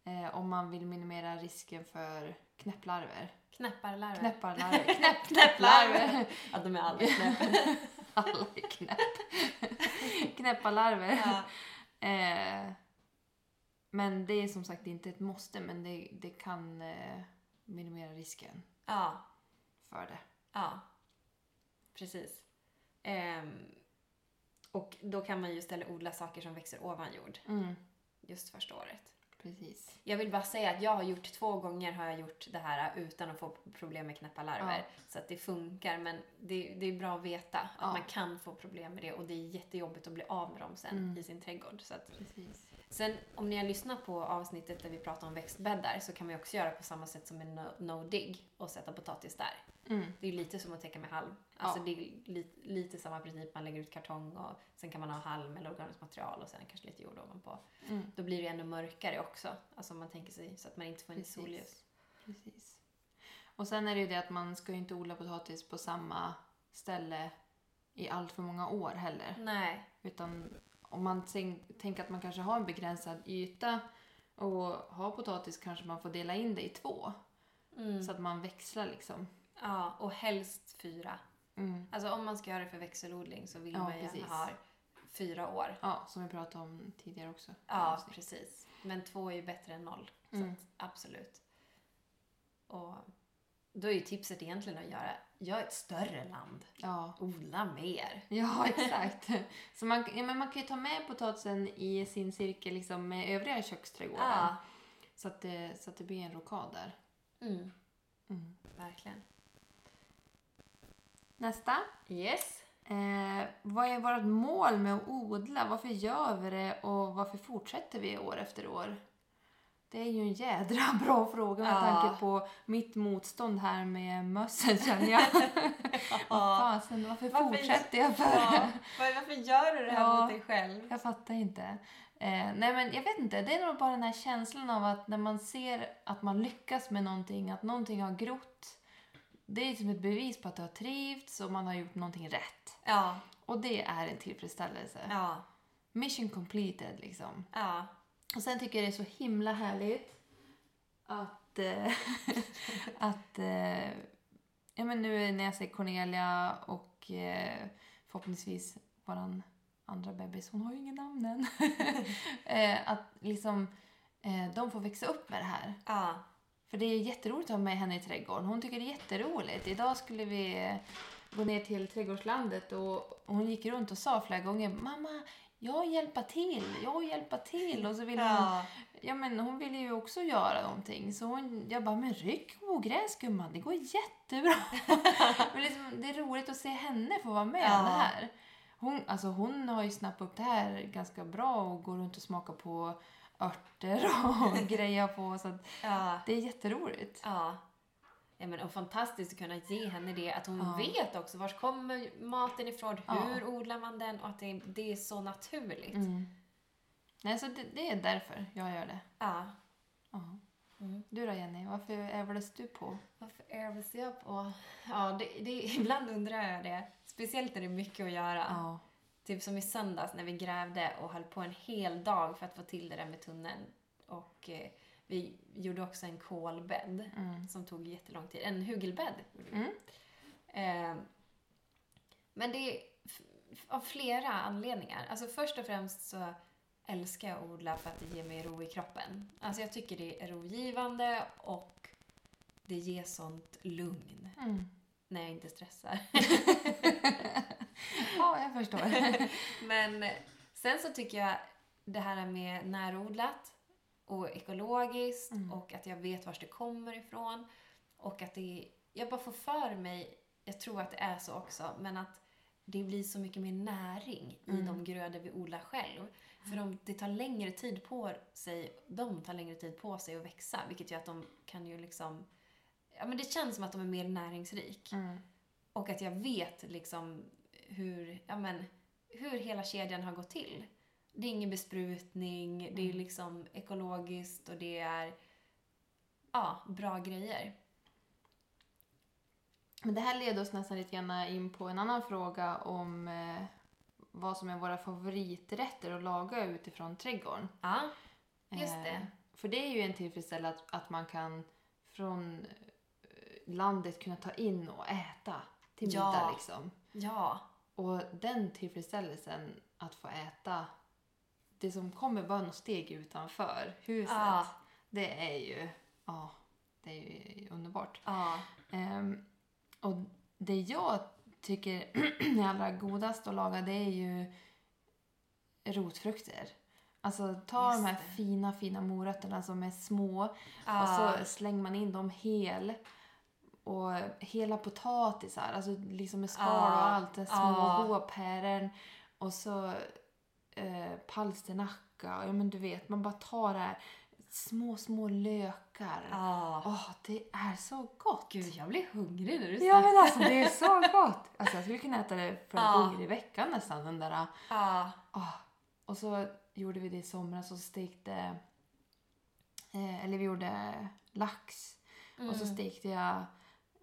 [SPEAKER 1] eh, om man vill minimera risken för knäpplarver.
[SPEAKER 2] Knäpparlarver.
[SPEAKER 1] Knäpparlarver. Knäpp, knäpplarver.
[SPEAKER 2] Ja, de är Eh.
[SPEAKER 1] [laughs]
[SPEAKER 2] aldrig knäppar.
[SPEAKER 1] Alla är knäpp. Knäpparlarver.
[SPEAKER 2] Ja.
[SPEAKER 1] Eh, men det är som sagt inte ett måste, men det, det kan eh, minimera risken
[SPEAKER 2] ja.
[SPEAKER 1] för det.
[SPEAKER 2] Ja, precis. Ehm, och då kan man ju istället odla saker som växer ovan jord
[SPEAKER 1] Mm,
[SPEAKER 2] just första året.
[SPEAKER 1] precis.
[SPEAKER 2] Jag vill bara säga att jag har gjort två gånger har jag gjort det här utan att få problem med knäppa larver.
[SPEAKER 1] Ja.
[SPEAKER 2] Så att det funkar, men det, det är bra att veta att
[SPEAKER 1] Ja.
[SPEAKER 2] man kan få problem med det och det är jättejobbigt att bli av med dem sen
[SPEAKER 1] Mm.
[SPEAKER 2] i sin trädgård. Så att,
[SPEAKER 1] precis.
[SPEAKER 2] sen om ni har lyssnat på avsnittet där vi pratar om växtbäddar så kan man ju också göra på samma sätt som med no, no dig och sätta potatis där.
[SPEAKER 1] Mm,
[SPEAKER 2] Det är lite som att täcka med halm. Alltså
[SPEAKER 1] Ja.
[SPEAKER 2] det är li, lite samma princip, man lägger ut kartong och sen kan man ha halm eller organiskt material och sen kanske lite jord ovanpå.
[SPEAKER 1] mm.
[SPEAKER 2] Då blir det ännu mörkare också, alltså om man tänker sig så att man inte får in
[SPEAKER 1] Precis.
[SPEAKER 2] solljus.
[SPEAKER 1] Precis. Och sen är det ju det att man ska ju inte odla potatis på samma ställe i allt för många år heller.
[SPEAKER 2] Nej.
[SPEAKER 1] Utan om man tänk- tänker att man kanske har en begränsad yta och har potatis kanske man får dela in det i två.
[SPEAKER 2] Mm.
[SPEAKER 1] Så att man växlar liksom.
[SPEAKER 2] Ja, och helst fyra.
[SPEAKER 1] Mm.
[SPEAKER 2] Alltså om man ska göra det för växelodling så vill
[SPEAKER 1] Ja,
[SPEAKER 2] man ju
[SPEAKER 1] precis.
[SPEAKER 2] gärna ha fyra år.
[SPEAKER 1] Ja, som vi pratade om tidigare också.
[SPEAKER 2] Ja, precis. Men två är ju bättre än noll.
[SPEAKER 1] Mm.
[SPEAKER 2] Så att, absolut. Och då är ju tipset egentligen att göra, gör ett större land.
[SPEAKER 1] Ja.
[SPEAKER 2] Odla mer.
[SPEAKER 1] Ja, [laughs] exakt. Så man, ja, men man kan ju ta med potatisen i sin cirkel liksom med övriga köksträdgården.
[SPEAKER 2] Ja.
[SPEAKER 1] Så, att det, så att det blir en rokad där.
[SPEAKER 2] Mm,
[SPEAKER 1] Mm.
[SPEAKER 2] verkligen.
[SPEAKER 1] Nästa.
[SPEAKER 2] Yes.
[SPEAKER 1] Eh, vad är vårt mål med att odla? Varför gör vi det och varför fortsätter vi år efter år? Det är ju en jädra [laughs] bra fråga med
[SPEAKER 2] Ja.
[SPEAKER 1] tanke på mitt motstånd här med mössen känner
[SPEAKER 2] [laughs]
[SPEAKER 1] jag.
[SPEAKER 2] Ja.
[SPEAKER 1] Fasen, varför,
[SPEAKER 2] Varför-
[SPEAKER 1] fortsätter jag för?
[SPEAKER 2] Var- Varför gör du det här
[SPEAKER 1] Ja.
[SPEAKER 2] mot dig själv?
[SPEAKER 1] [laughs] Jag fattar inte. Eh, nej men jag vet inte, det är nog bara den här känslan av att när man ser att man lyckas med någonting, att någonting har grott. Det är som ett bevis på att det har trivts och man har gjort någonting rätt.
[SPEAKER 2] Ja.
[SPEAKER 1] Och det är en tillfredsställelse.
[SPEAKER 2] Ja.
[SPEAKER 1] Mission completed liksom.
[SPEAKER 2] Ja.
[SPEAKER 1] Och sen tycker jag det är så himla härligt att, eh, [laughs] att eh, ja, men nu när jag ser Cornelia och eh, förhoppningsvis våran andra bebis, hon har ju ingen namn än, [laughs] eh, att liksom eh, de får växa upp med det här.
[SPEAKER 2] Ja.
[SPEAKER 1] För det är jätteroligt att ha med henne i trädgården. Hon tycker det är jätteroligt. Idag skulle vi eh, gå ner till trädgårdslandet och och hon gick runt och sa flera gånger Mamma, jag hjälpa till, jag hjälpa till. Och så ville hon,
[SPEAKER 2] Ja.
[SPEAKER 1] ja, men hon ville ju också göra någonting. Så hon, jag bara, men ryck ogräs gumman, det går
[SPEAKER 2] [laughs]
[SPEAKER 1] jättebra. men liksom, det är roligt att se henne få vara med
[SPEAKER 2] Ja.
[SPEAKER 1] i det här. Hon, alltså hon har ju snappat upp det här ganska bra och går runt och smakar på örter och [laughs] grejer på. Så att
[SPEAKER 2] Ja.
[SPEAKER 1] det är jätteroligt.
[SPEAKER 2] ja. Ja, men och fantastiskt att kunna ge henne det. Att hon
[SPEAKER 1] Ja.
[SPEAKER 2] vet också var kommer maten ifrån,
[SPEAKER 1] Ja.
[SPEAKER 2] hur odlar man den och att det, det är så naturligt.
[SPEAKER 1] Mm. Nej, så det, det är därför jag gör det.
[SPEAKER 2] Ja.
[SPEAKER 1] Ja.
[SPEAKER 2] Mm.
[SPEAKER 1] Du då Jenny, varför ävlas du på?
[SPEAKER 2] Varför övas jag på? Ja, det, det, [laughs] ibland undrar jag det. Speciellt när det är mycket att göra.
[SPEAKER 1] Ja.
[SPEAKER 2] Typ som i söndags när vi grävde och höll på en hel dag för att få till det där med tunneln. Och eh, vi gjorde också en kolbädd
[SPEAKER 1] Mm.
[SPEAKER 2] som tog jättelång tid. En hugelbädd gjorde vi.
[SPEAKER 1] Mm.
[SPEAKER 2] Eh, men det är f- f- av flera anledningar. Alltså först och främst så älskar jag att odla för att det ger mig ro i kroppen. Alltså jag tycker det är rogivande och det ger sånt lugn
[SPEAKER 1] Mm.
[SPEAKER 2] när jag inte stressar.
[SPEAKER 1] Ja, jag
[SPEAKER 2] [laughs]
[SPEAKER 1] förstår.
[SPEAKER 2] Men sen så tycker jag det här med närodlat och ekologiskt
[SPEAKER 1] Mm.
[SPEAKER 2] och att jag vet var det kommer ifrån. Och att det, jag bara får för mig, jag tror att det är så också, men att det blir så mycket mer näring i
[SPEAKER 1] Mm.
[SPEAKER 2] de grödor vi odlar själv. För de, det tar längre tid på sig, de tar längre tid på sig att växa, vilket gör att de kan ju liksom, ja men det känns som att de är mer näringsrik.
[SPEAKER 1] Mm.
[SPEAKER 2] Och att jag vet liksom hur, ja men, hur hela kedjan har gått till. Det är ingen besprutning, det är liksom ekologiskt och det är ja, bra grejer.
[SPEAKER 1] Men det här leder oss nästan lite grann in på en annan fråga om eh, vad som är våra favoriträtter att laga utifrån trädgården.
[SPEAKER 2] Ja, just
[SPEAKER 1] Eh,
[SPEAKER 2] det.
[SPEAKER 1] För det är ju en tillfredsställelse att, att man kan från eh, landet kunna ta in och äta till
[SPEAKER 2] Ja.
[SPEAKER 1] middag liksom.
[SPEAKER 2] Ja,
[SPEAKER 1] Och den tillfredsställelsen att få äta det som kommer bara något steg utanför huset.
[SPEAKER 2] Ja.
[SPEAKER 1] Det är ju, ja, det är ju underbart.
[SPEAKER 2] ja,
[SPEAKER 1] Ehm, och det jag tycker [clears throat] är allra godast att laga det är ju rotfrukter. Alltså ta
[SPEAKER 2] Just
[SPEAKER 1] de här
[SPEAKER 2] det.
[SPEAKER 1] fina, fina morötterna som är små och
[SPEAKER 2] ja,
[SPEAKER 1] så Alltså, slänger man in dem hel. Och hela potatisar, alltså liksom med skal
[SPEAKER 2] Ja,
[SPEAKER 1] och allt. det Små
[SPEAKER 2] ja.
[SPEAKER 1] goa päron. Och så eh, palsternacka. Ja men du vet, man bara tar det här. Små, små lökar. Åh,
[SPEAKER 2] ja.
[SPEAKER 1] det är så gott!
[SPEAKER 2] Gud, jag blir hungrig när du
[SPEAKER 1] Ja
[SPEAKER 2] snackar.
[SPEAKER 1] men alltså det är så gott! Alltså jag skulle kunna äta det flera
[SPEAKER 2] Ja.
[SPEAKER 1] gånger i veckan nästan. Den där,
[SPEAKER 2] Ja,
[SPEAKER 1] ah. Och så gjorde vi det i somras och stekte... Eh, eller vi gjorde lax.
[SPEAKER 2] mm.
[SPEAKER 1] Och så stekte jag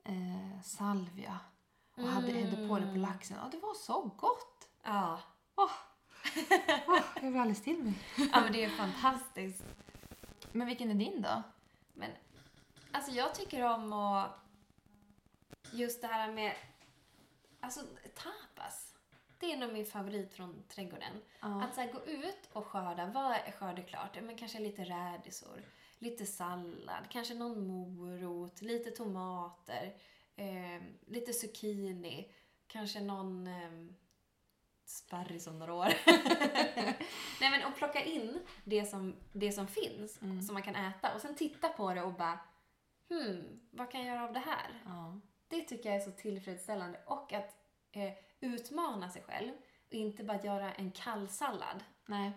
[SPEAKER 1] eh, salvia och hade
[SPEAKER 2] Mm.
[SPEAKER 1] hällde på det på laxen. Ja, det var så gott!
[SPEAKER 2] ja.
[SPEAKER 1] Åh, åh, [laughs] jag blir alldeles till mig.
[SPEAKER 2] ja, men det är fantastiskt.
[SPEAKER 1] Men vilken är din då?
[SPEAKER 2] Men alltså jag tycker om att... Just det här med... Alltså tapas. Det är nog min favorit från trädgården.
[SPEAKER 1] Ja.
[SPEAKER 2] Att så här, gå ut och skörda. Vad är skördeklart? Ja, men kanske lite rädisor, lite sallad, kanske någon morot, lite tomater, eh, lite zucchini, kanske någon eh, sparris om
[SPEAKER 1] [laughs]
[SPEAKER 2] några år. Nej men och plocka in det som, det som finns,
[SPEAKER 1] Mm.
[SPEAKER 2] som man kan äta och sen titta på det och bara Hmm, vad kan jag göra av det här?
[SPEAKER 1] Ja.
[SPEAKER 2] Det tycker jag är så tillfredsställande. Och att eh, utmana sig själv och inte bara göra en kall sallad.
[SPEAKER 1] Nej.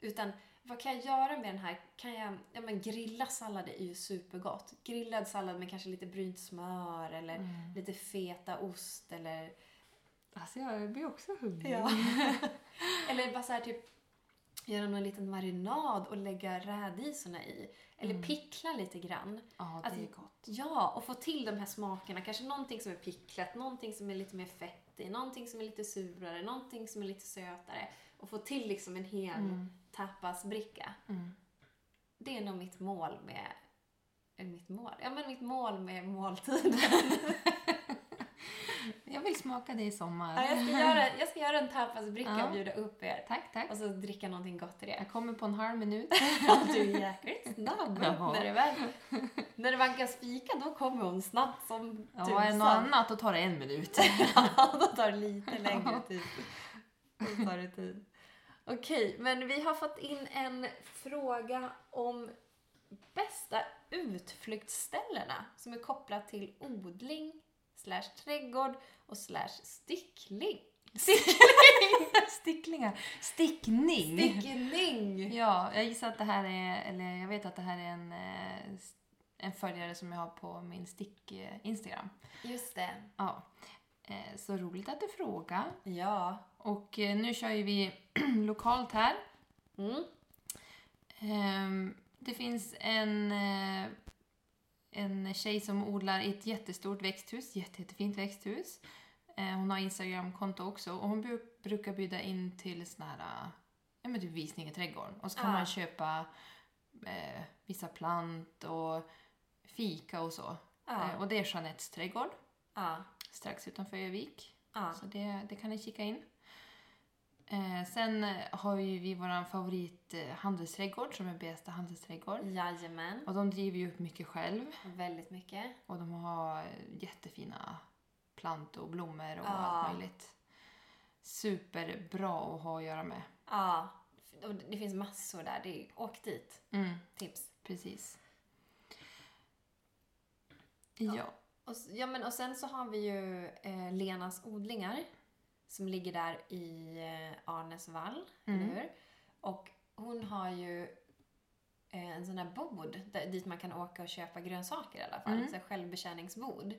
[SPEAKER 2] Utan vad kan jag göra med den här? Kan jag, ja men grilla sallad är ju supergott. Grillad sallad med kanske lite brynt smör eller
[SPEAKER 1] Mm.
[SPEAKER 2] lite feta ost eller...
[SPEAKER 1] Alltså jag blir också hungrig.
[SPEAKER 2] [laughs] eller bara så här typ göra någon liten marinad och lägga rädisorna i. Eller
[SPEAKER 1] Mm.
[SPEAKER 2] pickla lite grann.
[SPEAKER 1] Ja, det
[SPEAKER 2] Alltså,
[SPEAKER 1] är gott.
[SPEAKER 2] Ja, och få till de här smakerna. Kanske någonting som är picklat, någonting som är lite mer fett i, någonting som är lite surare, någonting som är lite sötare. Och få till liksom en hel
[SPEAKER 1] Mm.
[SPEAKER 2] tapasbricka.
[SPEAKER 1] Mm.
[SPEAKER 2] Det är nog mitt mål med... eh, Mitt mål? Ja, men mitt mål med måltiden. [laughs]
[SPEAKER 1] Jag vill smaka det i sommar.
[SPEAKER 2] Ja, jag, ska göra, jag ska göra en tapasbricka
[SPEAKER 1] Ja.
[SPEAKER 2] och bjuda upp er.
[SPEAKER 1] Tack, tack.
[SPEAKER 2] Och så dricka någonting gott i det. [laughs]
[SPEAKER 1] Jag kommer på en halv [laughs] minut.
[SPEAKER 2] Du är jäkligt snabb.
[SPEAKER 1] Ja.
[SPEAKER 2] När, det väl, när det vankas fika, då kommer hon snabbt som
[SPEAKER 1] Ja, är det något annat då tar det [laughs] en minut.
[SPEAKER 2] Ja, då tar det lite längre tid. Då tar det tid. Okej, men vi har fått in en fråga om bästa utflyktsställena som är kopplat till odling, slash trädgård och slash stickling.
[SPEAKER 1] [laughs] Sticklingar. Stickning.
[SPEAKER 2] Stickning!
[SPEAKER 1] Ja, jag gissar att det här är, eller jag vet att det här är en, eh, s- en följare som jag har på min stick-instagram.
[SPEAKER 2] Just det.
[SPEAKER 1] Ja. Eh, Så roligt att du frågar.
[SPEAKER 2] Ja.
[SPEAKER 1] Och eh, nu kör ju vi [clears throat] lokalt här.
[SPEAKER 2] Mm.
[SPEAKER 1] Ehm, Det finns en, eh, en tjej som odlar i ett jättestort växthus, jätte, jättefint växthus. Eh, Hon har Instagramkonto också och hon bru- brukar bjuda in till såna här, eh, ja men typ visning i trädgården. Och så kan
[SPEAKER 2] Ah.
[SPEAKER 1] man köpa eh, vissa plant och fika och så. Eh,
[SPEAKER 2] Ja.
[SPEAKER 1] och det är Jeanettes trädgård,
[SPEAKER 2] Ja.
[SPEAKER 1] strax utanför Övik.
[SPEAKER 2] Ja.
[SPEAKER 1] Så det, det kan ni kika in. Eh, sen har ju vi vår favorit eh, handelsträdgård som är bästa handelsträdgård.
[SPEAKER 2] Mm. Jajamän.
[SPEAKER 1] Och de driver ju upp mycket själv
[SPEAKER 2] Väldigt mycket.
[SPEAKER 1] och de har jättefina plantor och blommor och
[SPEAKER 2] Ja.
[SPEAKER 1] allt möjligt. Superbra att ha att göra med.
[SPEAKER 2] Ja. Och det finns massor där. Det är, åk dit.
[SPEAKER 1] Mm,
[SPEAKER 2] Tips.
[SPEAKER 1] precis. Ja.
[SPEAKER 2] Och, s- ja, men, och sen så har vi ju eh, Lenas odlingar som ligger där i eh, Arnäsvall,
[SPEAKER 1] Mm.
[SPEAKER 2] eller hur? Och hon har ju eh, en sån här bod där, dit man kan åka och köpa grönsaker i alla fall.
[SPEAKER 1] Mm.
[SPEAKER 2] Så här självbetjäningsbod.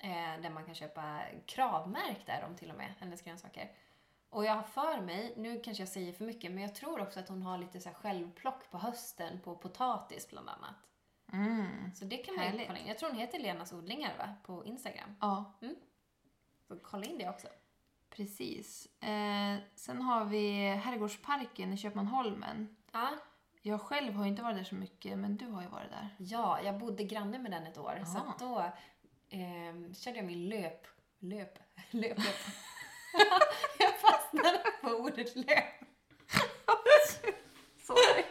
[SPEAKER 2] Eh, där man kan köpa kravmärkta är de till och med, hennes grönsaker. Och jag har för mig, nu kanske jag säger för mycket, men jag tror också att hon har lite så här självplock på hösten på potatis bland annat.
[SPEAKER 1] Mm.
[SPEAKER 2] Så det kan man ju
[SPEAKER 1] Härligt.
[SPEAKER 2] kolla in. Jag tror hon heter Lenas odlingar va? på Instagram.
[SPEAKER 1] Ja,
[SPEAKER 2] Så kolla in det också.
[SPEAKER 1] precis. Eh, sen har vi Herrgårdsparken i Köpmanholmen.
[SPEAKER 2] Ja,
[SPEAKER 1] Jag själv har ju inte varit där så mycket, men du har ju varit där.
[SPEAKER 2] ja jag bodde granne med den ett år. Så
[SPEAKER 1] Ah.
[SPEAKER 2] att då ehm, körde jag min löp... Löp? [laughs] Löp, löp. jag fastnade på ordet [laughs] löp. [laughs]
[SPEAKER 1] Sorry.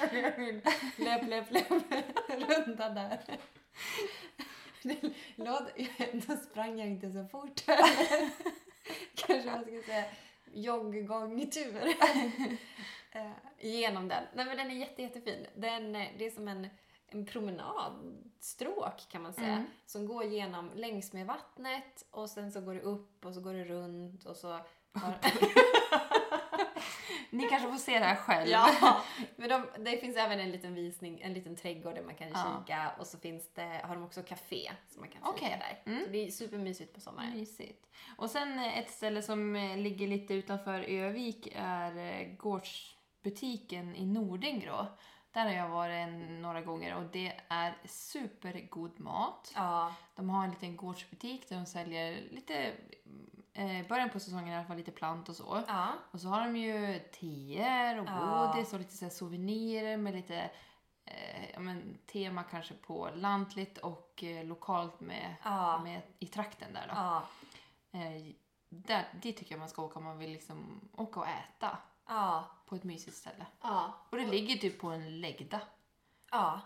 [SPEAKER 2] körde jag min löp, löp, löp [laughs] runda där. Det Låt, då sprang jag inte så fort. [laughs] Kanske man ska säga jogggångtur. [laughs] Eh, Genom den. Nej men den är jätte, jättefin. Den, eh, det är som en, en promenadstråk kan man säga.
[SPEAKER 1] Mm.
[SPEAKER 2] Som går genom längs med vattnet och sen så går det upp och så går det runt och så har,
[SPEAKER 1] [laughs] Ni kanske får se det här själv.
[SPEAKER 2] Ja, men de, det finns även en liten visning, en liten trädgård där man kan
[SPEAKER 1] Ja.
[SPEAKER 2] kika och så finns det, har de också café som man kan fika
[SPEAKER 1] Okej.
[SPEAKER 2] där.
[SPEAKER 1] Mm.
[SPEAKER 2] Så det är supermysigt på sommaren.
[SPEAKER 1] [laughs] Mysigt. Och sen eh, ett ställe som eh, ligger lite utanför Övik är eh, gårdsbutiken i Nordingrå. Där har jag varit en, några gånger och det är supergod mat.
[SPEAKER 2] Ja,
[SPEAKER 1] De har en liten gårdsbutik där de säljer lite, eh, början på säsongen i alla fall, lite plant och så.
[SPEAKER 2] ja,
[SPEAKER 1] Och så har de ju teer och
[SPEAKER 2] Ja.
[SPEAKER 1] godis och lite så här souvenirer med lite eh, ja, men, tema kanske på lantligt och eh, lokalt med,
[SPEAKER 2] ja,
[SPEAKER 1] med, i trakten där då.
[SPEAKER 2] ja,
[SPEAKER 1] Eh, där, det tycker jag man ska åka om man vill liksom åka och äta
[SPEAKER 2] ja,
[SPEAKER 1] på ett mysigt ställe.
[SPEAKER 2] ja,
[SPEAKER 1] Och det ligger typ på en lägda,
[SPEAKER 2] ja.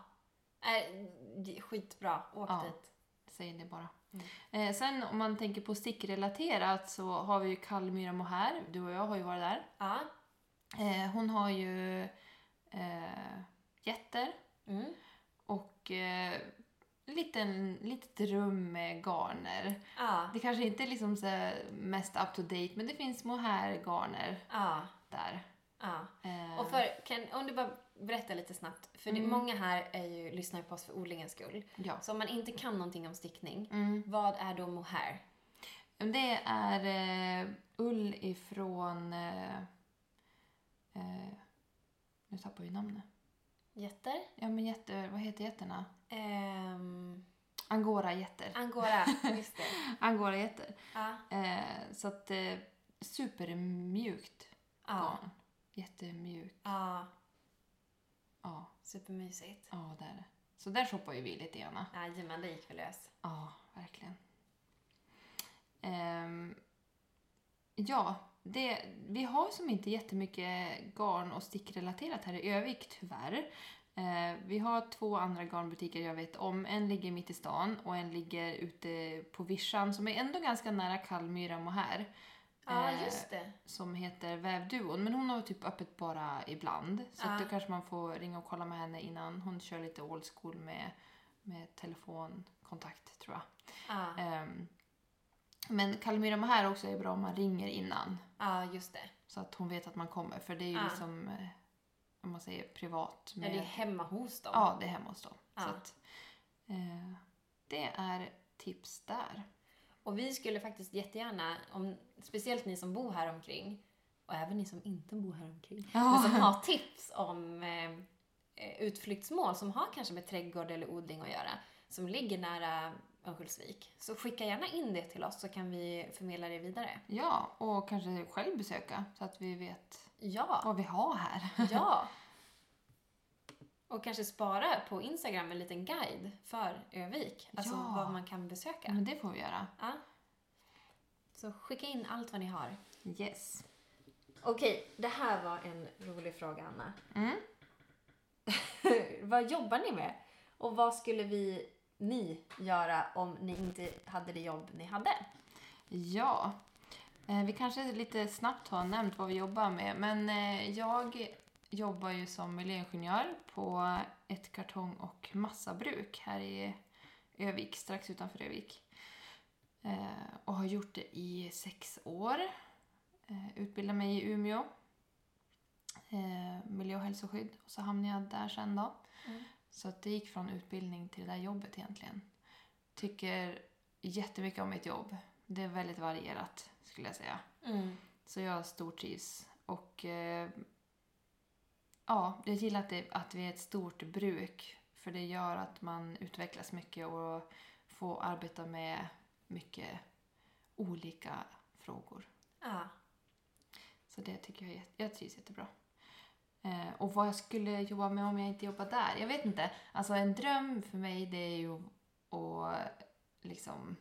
[SPEAKER 2] Äh, det är skitbra, åk
[SPEAKER 1] Ja.
[SPEAKER 2] dit.
[SPEAKER 1] säger det bara.
[SPEAKER 2] Mm.
[SPEAKER 1] Eh, sen om man tänker på stickrelaterat så har vi ju Kallmyra Mohair, du och jag har ju varit där.
[SPEAKER 2] Ja,
[SPEAKER 1] Eh, hon har ju eh, getter
[SPEAKER 2] mm.
[SPEAKER 1] och eh, liten, litet rum med garner.
[SPEAKER 2] ja,
[SPEAKER 1] Det kanske inte är liksom så här mest up to date men det finns mohairgarner
[SPEAKER 2] ja,
[SPEAKER 1] där.
[SPEAKER 2] ja.
[SPEAKER 1] Eh,
[SPEAKER 2] Och för, kan, om du bara berättar lite snabbt, för det,
[SPEAKER 1] Mm.
[SPEAKER 2] många här är ju, lyssnar ju på oss för odlingens skull.
[SPEAKER 1] ja.
[SPEAKER 2] Så om man inte kan någonting om stickning,
[SPEAKER 1] Mm.
[SPEAKER 2] vad är då mohair?
[SPEAKER 1] Det är eh, ull ifrån... Eh, eh, nu tappar vi namnet.
[SPEAKER 2] Jätter?
[SPEAKER 1] Ja, men jätte, vad heter jätterna?
[SPEAKER 2] Ehm, [laughs]
[SPEAKER 1] Angorajätter.
[SPEAKER 2] angora, just det.
[SPEAKER 1] Angorajätter.
[SPEAKER 2] Ja,
[SPEAKER 1] Eh, så att eh, supermjukt
[SPEAKER 2] ja,
[SPEAKER 1] garn. Jättemjukt.
[SPEAKER 2] ja.
[SPEAKER 1] Ja,
[SPEAKER 2] Supermysigt.
[SPEAKER 1] ja det är det. Så där shoppar ju vi lite grann.
[SPEAKER 2] Jajamän, det gick väl lös.
[SPEAKER 1] Ja, verkligen. Ehm, ja, det, vi har som inte jättemycket garn och stickrelaterat här i Övik tyvärr. Eh, vi har två andra garnbutiker jag vet om. En ligger mitt i stan och en ligger ute på Vischan som är ändå ganska nära Kallmyra och här.
[SPEAKER 2] Ja,
[SPEAKER 1] Eh,
[SPEAKER 2] just det.
[SPEAKER 1] som heter Vävduon. Men hon har typ öppet bara ibland. Så
[SPEAKER 2] Ja.
[SPEAKER 1] att då kanske man får ringa och kolla med henne innan. Hon kör lite old school med, med telefonkontakt tror jag.
[SPEAKER 2] Ja,
[SPEAKER 1] Ehm, men Kalimera här också är bra om man ringer innan.
[SPEAKER 2] ja just det.
[SPEAKER 1] Så att hon vet att man kommer. För det är ju
[SPEAKER 2] Ja.
[SPEAKER 1] liksom, eh, om man säger privat.
[SPEAKER 2] Ja,
[SPEAKER 1] Med,
[SPEAKER 2] det är hemma hos dem.
[SPEAKER 1] ja, det är hemma hos dem.
[SPEAKER 2] Ja.
[SPEAKER 1] Så att, eh, det är tips där.
[SPEAKER 2] Och vi skulle faktiskt jättegärna, om, speciellt ni som bor här omkring och även ni som inte bor här omkring, men som har tips om eh, eh, utflyktsmål som har kanske med trädgård eller odling att göra, som ligger nära Örnsköldsvik, så skicka gärna in det till oss så kan vi förmedla det vidare.
[SPEAKER 1] Ja, och kanske själv besöka så att vi vet
[SPEAKER 2] Ja,
[SPEAKER 1] vad vi har här.
[SPEAKER 2] ja! Och kanske spara på Instagram en liten guide för Övik, alltså
[SPEAKER 1] Ja. Mm.
[SPEAKER 2] vad man kan besöka.
[SPEAKER 1] Men det får vi göra.
[SPEAKER 2] Ja. Så skicka in allt vad ni har.
[SPEAKER 1] Yes.
[SPEAKER 2] Okej, det här var en rolig fråga Anna.
[SPEAKER 1] Mm.
[SPEAKER 2] [laughs] vad jobbar ni med? Och vad skulle vi, ni, göra om ni inte hade det jobb ni hade?
[SPEAKER 1] Ja. Eh, Vi kanske lite snabbt har nämnt vad vi jobbar med, men eh, jag jobbar ju som miljöingenjör på ett kartong och massabruk här i Övik, strax utanför Övik. Eh, Och har gjort det i sex år. Eh, Utbildade mig i Umeå, eh, miljö och hälsoskydd, och så hamnade jag där sen då.
[SPEAKER 2] Mm.
[SPEAKER 1] Så att det gick från utbildning till det där jobbet egentligen. Tycker jättemycket om mitt jobb. Det är väldigt varierat skulle jag säga. Så jag stortrivs. Och eh, ja, jag gillar att, det, att vi är ett stort bruk. För det gör att man utvecklas mycket och får arbeta med mycket olika frågor.
[SPEAKER 2] Ja.
[SPEAKER 1] Så det tycker jag, är jätte- jag trivs jättebra. Eh, och vad jag skulle jobba med om jag inte jobbar där? Jag vet inte. Alltså en dröm för mig det är ju att liksom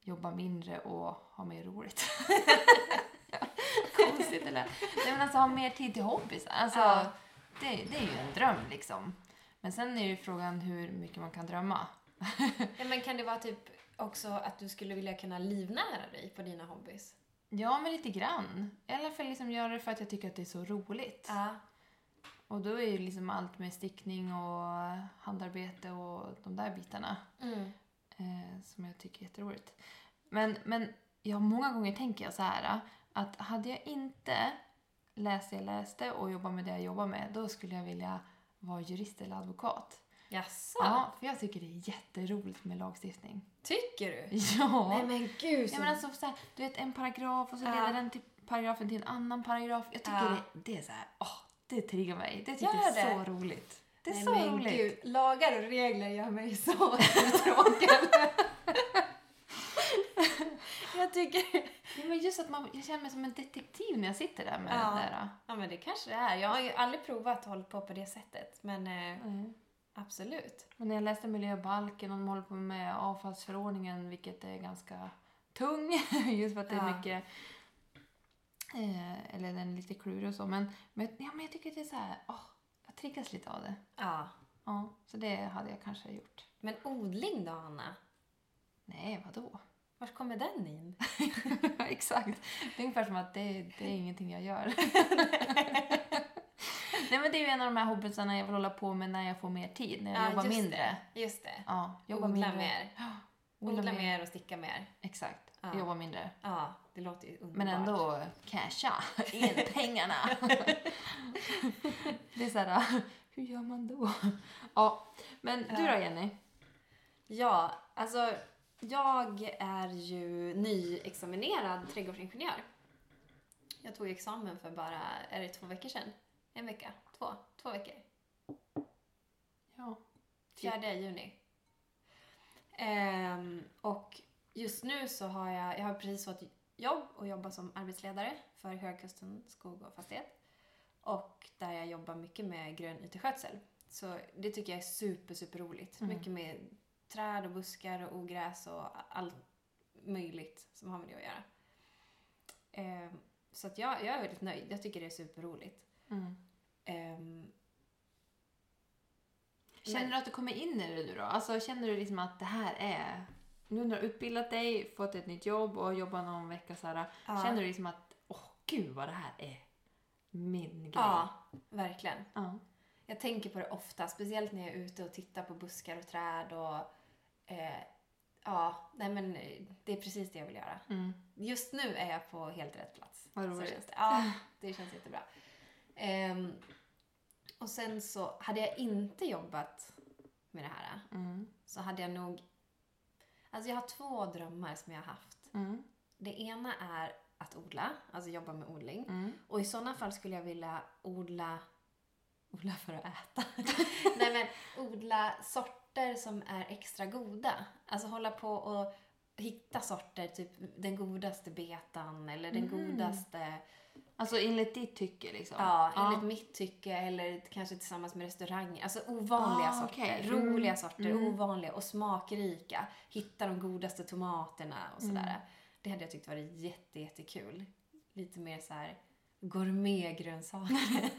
[SPEAKER 1] jobba mindre och ha mer roligt. [laughs] Konstigt eller? Nej men alltså ha mer tid till hobbysar. Alltså,
[SPEAKER 2] Ja.
[SPEAKER 1] det, det är ju en dröm liksom. Men sen är ju frågan hur mycket man kan drömma.
[SPEAKER 2] Ja, Men kan det vara typ också att du skulle vilja kunna livnära dig på dina hobbys?
[SPEAKER 1] Ja men lite grann. I alla fall liksom göra det för att jag tycker att det är så roligt.
[SPEAKER 2] Ja.
[SPEAKER 1] Och då är ju liksom allt med stickning och handarbete och de där bitarna
[SPEAKER 2] Mm.
[SPEAKER 1] eh, som jag tycker är jätteroligt. Men, men ja, många gånger tänker jag så här att hade jag inte läst det jag läste och jobbat med det jag jobbar med då skulle jag vilja vara jurist eller advokat.
[SPEAKER 2] Jaså?
[SPEAKER 1] Ja, för jag tycker det är jätteroligt med lagstiftning. [laughs]
[SPEAKER 2] Tycker du?
[SPEAKER 1] Ja!
[SPEAKER 2] Nej men gud!
[SPEAKER 1] Ja, men alltså, så här, du vet en paragraf och så leder
[SPEAKER 2] Ja.
[SPEAKER 1] den till paragrafen till en annan paragraf. Jag tycker
[SPEAKER 2] Ja.
[SPEAKER 1] det, det är så här, åh, det triggar mig. Det tycker
[SPEAKER 2] Gör
[SPEAKER 1] jag är
[SPEAKER 2] det?
[SPEAKER 1] så roligt. Det är
[SPEAKER 2] Nej,
[SPEAKER 1] så
[SPEAKER 2] men
[SPEAKER 1] roligt.
[SPEAKER 2] Gud, lagar och regler gör mig [laughs] så
[SPEAKER 1] [laughs]
[SPEAKER 2] uttråkad. jag tycker...
[SPEAKER 1] Ja, men just att man, jag känner mig som en detektiv när jag sitter där med
[SPEAKER 2] Ja.
[SPEAKER 1] det där.
[SPEAKER 2] Ja men det kanske det är. Jag har ju aldrig provat att hålla på på det sättet. Men eh, absolut.
[SPEAKER 1] Men när jag läste miljöbalken och de håller på med avfallsförordningen, vilket är ganska tung, [laughs] just för att det är
[SPEAKER 2] Ja.
[SPEAKER 1] mycket eh, eller den är lite klurig och så, men, men, ja, men jag tycker det är så här, åh, jag triggas lite av det.
[SPEAKER 2] Ja.
[SPEAKER 1] Ja, så det hade jag kanske gjort.
[SPEAKER 2] Men odling då Anna?
[SPEAKER 1] Nej, vadå?
[SPEAKER 2] Var kommer den in?
[SPEAKER 1] [laughs] Exakt. Det är ungefär som att det, det är ingenting jag
[SPEAKER 2] [laughs]
[SPEAKER 1] gör. Nej men det är ju en av de här hobbysarna jag vill hålla på med när jag får mer tid, när jag jobbar
[SPEAKER 2] just
[SPEAKER 1] mindre.
[SPEAKER 2] Det. Just det.
[SPEAKER 1] Ja, jobba
[SPEAKER 2] Odla
[SPEAKER 1] mindre. [gasps]
[SPEAKER 2] mer.
[SPEAKER 1] Ja,
[SPEAKER 2] Odla, mer och sticka mer.
[SPEAKER 1] Exakt,
[SPEAKER 2] Ja.
[SPEAKER 1] jobba mindre.
[SPEAKER 2] Ja, det låter ju underbart.
[SPEAKER 1] Men ändå
[SPEAKER 2] [laughs]
[SPEAKER 1] casha in pengarna. det är så här, [laughs] hur gör man då? Ja, men du då Jenny?
[SPEAKER 2] Ja, alltså jag är ju nyexaminerad trädgårdsingenjör. Jag tog examen för bara, är det två veckor sedan? En vecka? Två? Två veckor?
[SPEAKER 1] Ja. Typ.
[SPEAKER 2] 4 juni. Ehm, och just nu så har jag, jag har precis fått jobb och jobbar som arbetsledare för Högkusten skog och fastighet. Och där jag jobbar mycket med grön yteskötsel. Så det tycker jag är super, super roligt.
[SPEAKER 1] Mm.
[SPEAKER 2] Mycket med träd och buskar och ogräs och allt möjligt som har med det att göra. Ehm, så att jag, jag är väldigt nöjd. Jag tycker det är superroligt.
[SPEAKER 1] Mm.
[SPEAKER 2] Um,
[SPEAKER 1] Känner du att du kommer in i det nu då? Alltså känner du liksom att det här är nu när du har utbildat dig, fått ett nytt jobb och jobbat någon vecka så här,
[SPEAKER 2] Ja.
[SPEAKER 1] känner du liksom att åh gud vad det här är min grej?
[SPEAKER 2] Ja, verkligen.
[SPEAKER 1] Ja.
[SPEAKER 2] Jag tänker på det ofta, speciellt när jag är ute och tittar på buskar och träd och... Eh, ja, nej men eh, det är precis det jag vill göra.
[SPEAKER 1] Mm.
[SPEAKER 2] Just nu är jag på helt rätt plats.
[SPEAKER 1] Vad
[SPEAKER 2] Så
[SPEAKER 1] roligt.
[SPEAKER 2] känns det. Ja, det känns jättebra. Ehm, och sen så, hade jag inte jobbat med det här
[SPEAKER 1] Mm.
[SPEAKER 2] så hade jag nog... Alltså jag har två drömmar som jag har haft.
[SPEAKER 1] Mm.
[SPEAKER 2] Det ena är att odla, alltså jobba med odling.
[SPEAKER 1] Mm.
[SPEAKER 2] Och i sådana fall skulle jag vilja odla... Odla för att
[SPEAKER 1] [laughs]
[SPEAKER 2] äta? Nej men, odla sorter som är extra goda. Alltså hålla på och hitta sorter, typ den godaste betan eller den
[SPEAKER 1] Mhm.
[SPEAKER 2] godaste...
[SPEAKER 1] Alltså enligt ditt tycke liksom?
[SPEAKER 2] Ja, enligt mitt tycke eller kanske tillsammans med restaurang. Alltså ovanliga
[SPEAKER 1] Ah,
[SPEAKER 2] sorter,
[SPEAKER 1] okej. Mm,
[SPEAKER 2] roliga sorter,
[SPEAKER 1] mm.
[SPEAKER 2] ovanliga och smakrika. Hitta de godaste tomaterna
[SPEAKER 1] Mm.
[SPEAKER 2] och sådär. Det hade jag tyckt varit jätte, jättekul. Lite mer så här gourmetgrönsaker.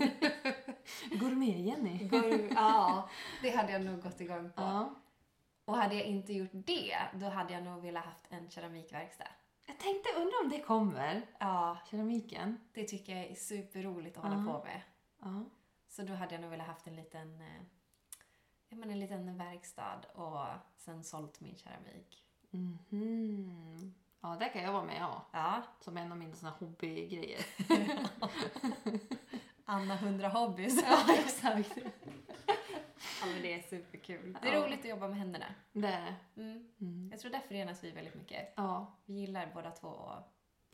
[SPEAKER 1] Gourmet-Jenny.
[SPEAKER 2] [laughs] Gour- ja, det hade jag nog gått igång på.
[SPEAKER 1] Ja.
[SPEAKER 2] Och hade jag inte gjort det, då hade jag nog velat haft en keramikverkstad.
[SPEAKER 1] Jag tänkte undra om det kommer.
[SPEAKER 2] Ja,
[SPEAKER 1] Keramiken.
[SPEAKER 2] det tycker jag är superroligt att hålla
[SPEAKER 1] Ja.
[SPEAKER 2] på med.
[SPEAKER 1] Ja.
[SPEAKER 2] Så då hade jag nog velat haft en liten, eh, ja, men en liten verkstad och sen sålt min keramik.
[SPEAKER 1] Mhm. Ja, där kan jag vara med ja.
[SPEAKER 2] Ja,
[SPEAKER 1] Som en av mina såna hobbygrejer.
[SPEAKER 2] Anna 100 hobbys. [laughs] Ja, exakt. ja, men det är superkul. Det är
[SPEAKER 1] Ja.
[SPEAKER 2] roligt att jobba med händerna.
[SPEAKER 1] Det är det.
[SPEAKER 2] Mm.
[SPEAKER 1] Mm.
[SPEAKER 2] Jag tror där förenas vi väldigt mycket.
[SPEAKER 1] Ja,
[SPEAKER 2] Vi gillar båda två och...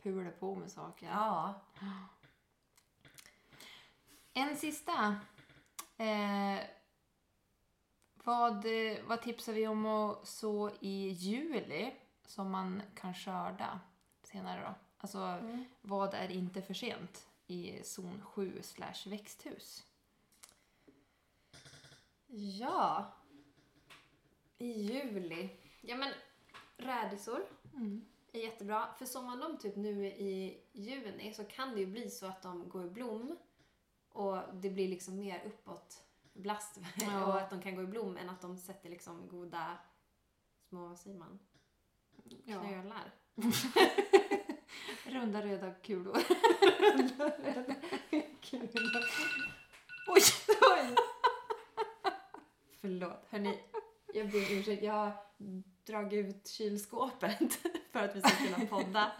[SPEAKER 1] pula på med saker.
[SPEAKER 2] Ja.
[SPEAKER 1] En sista. Eh, vad, eh, vad tipsar vi om att så i juli som man kan skörda senare då? Alltså,
[SPEAKER 2] Mm.
[SPEAKER 1] vad är inte för sent i zon 7 slash växthus?
[SPEAKER 2] Ja. I juli. Ja, men rädisor.
[SPEAKER 1] Mm.
[SPEAKER 2] är jättebra. För som man dem typ nu i juni så kan det ju bli så att de går i blom och det blir liksom mer uppåt blast [laughs]
[SPEAKER 1] Ja.
[SPEAKER 2] och att de kan gå i blom än att de sätter liksom goda små, vad säger man,
[SPEAKER 1] Ja. [laughs]
[SPEAKER 2] knölar. [laughs]
[SPEAKER 1] Runda röda [laughs] kulor.
[SPEAKER 2] Oj, oj! Förlåt, hörni. Jag ber om ursäkt. Jag har dragit ut kylskåpet [laughs] för att vi ska kunna podda.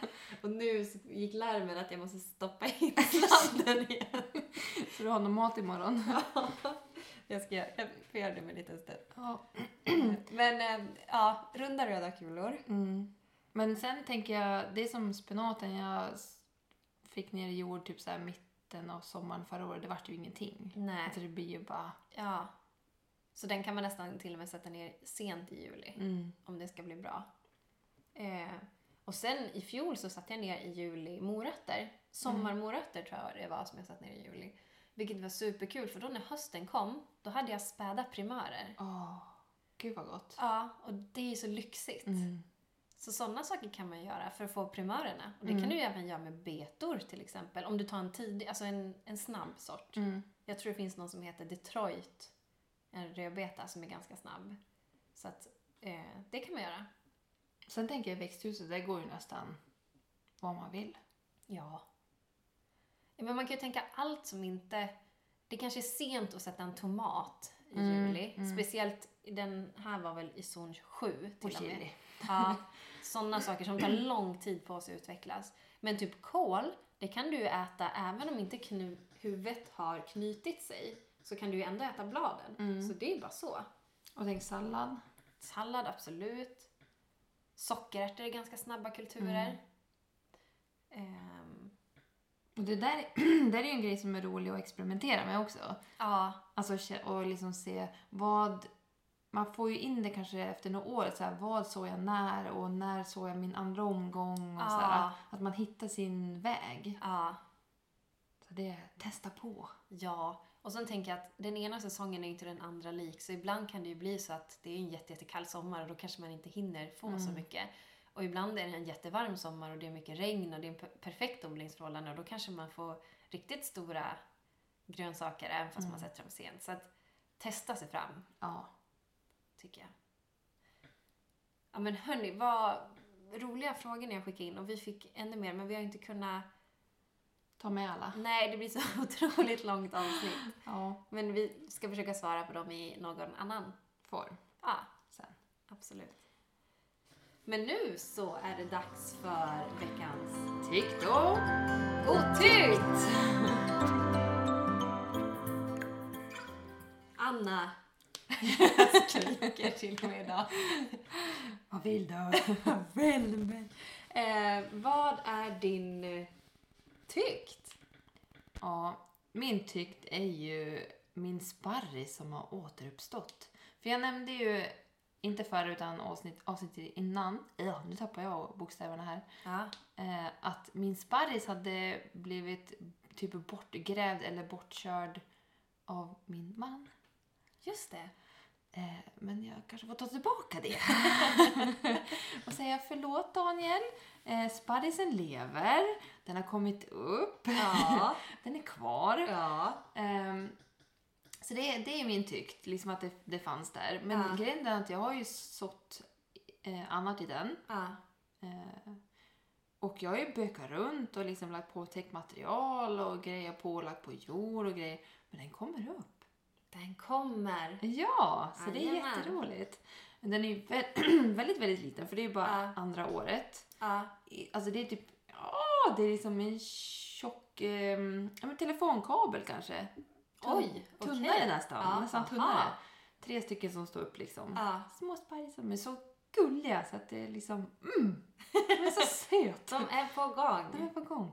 [SPEAKER 2] Och nu så gick larmen att jag måste stoppa in sladden igen. [laughs]
[SPEAKER 1] Så du har någon mat imorgon?
[SPEAKER 2] Jag ska jag får göra det med en liten stund. [clears throat]
[SPEAKER 1] Ja.
[SPEAKER 2] Men eh, ja, runda röda kulor.
[SPEAKER 1] Mm. Men sen tänker jag, det är som spenaten jag s- fick ner i jord typ så här mitten av sommaren förra året, det vart ju ingenting.
[SPEAKER 2] Nej.
[SPEAKER 1] Alltså det blir ju bara...
[SPEAKER 2] Ja. Så den kan man nästan till och med sätta ner sent i juli
[SPEAKER 1] Mm.
[SPEAKER 2] om det ska bli bra. Eh, och sen i fjol så satte jag ner i juli morötter. Sommarmorötter tror jag det var som jag satte ner i juli. Vilket var superkul för då när hösten kom, då hade jag späda primörer.
[SPEAKER 1] Åh, gud vad gott.
[SPEAKER 2] Ja, och det är ju så lyxigt.
[SPEAKER 1] Mm.
[SPEAKER 2] Så sådana saker kan man göra för att få primörerna. Och det kan du ju även göra med betor till exempel. Om du tar en tidig, alltså en, en snabb sort.
[SPEAKER 1] Mm.
[SPEAKER 2] Jag tror det finns någon som heter Detroit. En rödbeta som är ganska snabb. Så att eh, det kan man göra.
[SPEAKER 1] Sen tänker jag växthuset, där går ju nästan vad man vill.
[SPEAKER 2] Ja. Ja, Men man kan ju tänka allt som inte... Det kanske är sent att sätta en tomat i
[SPEAKER 1] Mm,
[SPEAKER 2] juli. Speciellt, i den här var väl i zon 7 till och,
[SPEAKER 1] Och
[SPEAKER 2] med.
[SPEAKER 1] chili.
[SPEAKER 2] Ja, sådana saker som tar lång tid på sig att utvecklas. Men typ kål, det kan du ju äta även om inte knu, huvudet har knutit sig. Så kan du ju ändå äta bladen. Så det är ju bara så.
[SPEAKER 1] Mm. Och tänk sallad.
[SPEAKER 2] Sallad, absolut. Sockerärtor är ganska snabba kulturer.
[SPEAKER 1] Mm.
[SPEAKER 2] Ehm,
[SPEAKER 1] Och det där, [clears throat] där är ju en grej som är rolig att experimentera med också.
[SPEAKER 2] ja,
[SPEAKER 1] Alltså kä- och liksom se vad... Man får ju in det kanske efter några år. Så här, vad såg jag när och när såg jag min andra omgång? Och så här,
[SPEAKER 2] Ja.
[SPEAKER 1] att man hittar sin väg.
[SPEAKER 2] ja,
[SPEAKER 1] Så det, testa på.
[SPEAKER 2] ja. Och sen tänker jag att den ena säsongen är inte den andra lik. Så ibland kan det ju bli så att det är en jätte, jättekall sommar och då kanske man inte hinner få så mycket. Och ibland är det en jättevarm sommar och det är mycket regn och det är en per- perfekt odlingsförhållande och då kanske man får riktigt stora grönsaker även fast man sätter dem sent. Så att testa sig fram
[SPEAKER 1] Ja.
[SPEAKER 2] tycker jag. Ja men hörni, vad roliga frågor ni har skickat in och vi fick ännu mer men vi har inte kunnat...
[SPEAKER 1] Ta med alla.
[SPEAKER 2] Nej, det blir så [laughs] otroligt långt avsnitt.
[SPEAKER 1] Ja.
[SPEAKER 2] Men vi ska försöka svara på dem i någon annan
[SPEAKER 1] Får.
[SPEAKER 2] Ja,
[SPEAKER 1] Sen.
[SPEAKER 2] absolut. Men nu så är det dags för veckans
[SPEAKER 1] TikTok!
[SPEAKER 2] otygt! Anna skriker till mig idag.
[SPEAKER 1] Vad vill du? Vänd mig!
[SPEAKER 2] Eh, vad är din eh, tykt?
[SPEAKER 1] Ja, min tykt är ju min sparris som har återuppstått. För jag nämnde ju, inte förr utan avsnitt, avsnittet innan, ja, nu tappar jag bokstäverna här,
[SPEAKER 2] Ja.
[SPEAKER 1] eh, att min sparris hade blivit typ bortgrävd eller bortkörd av min man.
[SPEAKER 2] Just det.
[SPEAKER 1] Eh, men jag kanske får ta tillbaka det. och säga förlåt Daniel, eh, sparrisen lever, den har kommit upp,
[SPEAKER 2] Ja.
[SPEAKER 1] den är kvar.
[SPEAKER 2] ja.
[SPEAKER 1] Ehm, så det, det är min tykt, liksom att det, det fanns där. Men
[SPEAKER 2] Ja.
[SPEAKER 1] grejen är att jag har ju sått eh, annat i den.
[SPEAKER 2] ja.
[SPEAKER 1] Eh, och jag har ju bökat runt och liksom lagt på täckt material och grejer på och lagt på jord och grejer. Men den kommer upp.
[SPEAKER 2] Den kommer.
[SPEAKER 1] Ja, så det är
[SPEAKER 2] Jajamän.
[SPEAKER 1] jätteroligt. Men den är ju vä- [clears throat] väldigt, väldigt liten för det är ju bara
[SPEAKER 2] Ja.
[SPEAKER 1] andra året.
[SPEAKER 2] Ja.
[SPEAKER 1] I- Alltså det är typ, ja, det är liksom en tjock ehm, ja, men telefonkabel kanske. Tunn-
[SPEAKER 2] Oj, okej.
[SPEAKER 1] Tunnare nästan.
[SPEAKER 2] Ja,
[SPEAKER 1] nästan
[SPEAKER 2] aha.
[SPEAKER 1] tunnare. Tre stycken som står upp liksom.
[SPEAKER 2] Ja.
[SPEAKER 1] Små sparrisar men så gulliga så att det är liksom, mm, de är
[SPEAKER 2] [laughs]
[SPEAKER 1] så söta.
[SPEAKER 2] De är på
[SPEAKER 1] De är
[SPEAKER 2] gång.
[SPEAKER 1] på gång.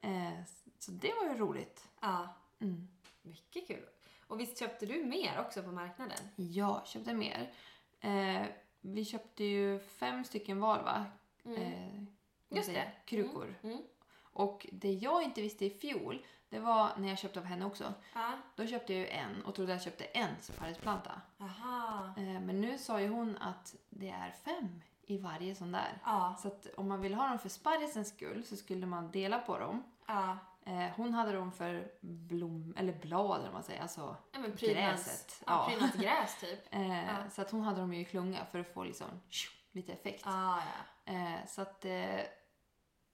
[SPEAKER 1] Eh, så det var ju roligt.
[SPEAKER 2] Ja.
[SPEAKER 1] Mm.
[SPEAKER 2] Mycket kul. Och visst köpte du mer också på marknaden?
[SPEAKER 1] Jag köpte mer. Eh, vi köpte ju fem stycken var va?
[SPEAKER 2] Mm.
[SPEAKER 1] Eh, vad
[SPEAKER 2] Just
[SPEAKER 1] säger
[SPEAKER 2] det.
[SPEAKER 1] jag? Krukor.
[SPEAKER 2] Mm.
[SPEAKER 1] Och det jag inte visste i fjol, det var när jag köpte av henne också.
[SPEAKER 2] Ja.
[SPEAKER 1] Då köpte jag ju en och trodde jag köpte en sparrisplanta.
[SPEAKER 2] Aha.
[SPEAKER 1] Eh, Men nu sa ju hon att det är fem i varje sån där.
[SPEAKER 2] Ja.
[SPEAKER 1] Så att om man vill ha dem för sparrisens skull så skulle man dela på dem.
[SPEAKER 2] Ja.
[SPEAKER 1] Eh, Hon hade dem för blom, eller blad eller vad man säger. Alltså,
[SPEAKER 2] Ja, men prydnads-
[SPEAKER 1] Gräset.
[SPEAKER 2] Ja.
[SPEAKER 1] Ja.
[SPEAKER 2] Prydnadsgräs typ.
[SPEAKER 1] eh,
[SPEAKER 2] Ja.
[SPEAKER 1] Så att hon hade dem ju i klunga för att få liksom, tju, lite effekt.
[SPEAKER 2] Ah, [laughs] ja.
[SPEAKER 1] Eh, Så att eh,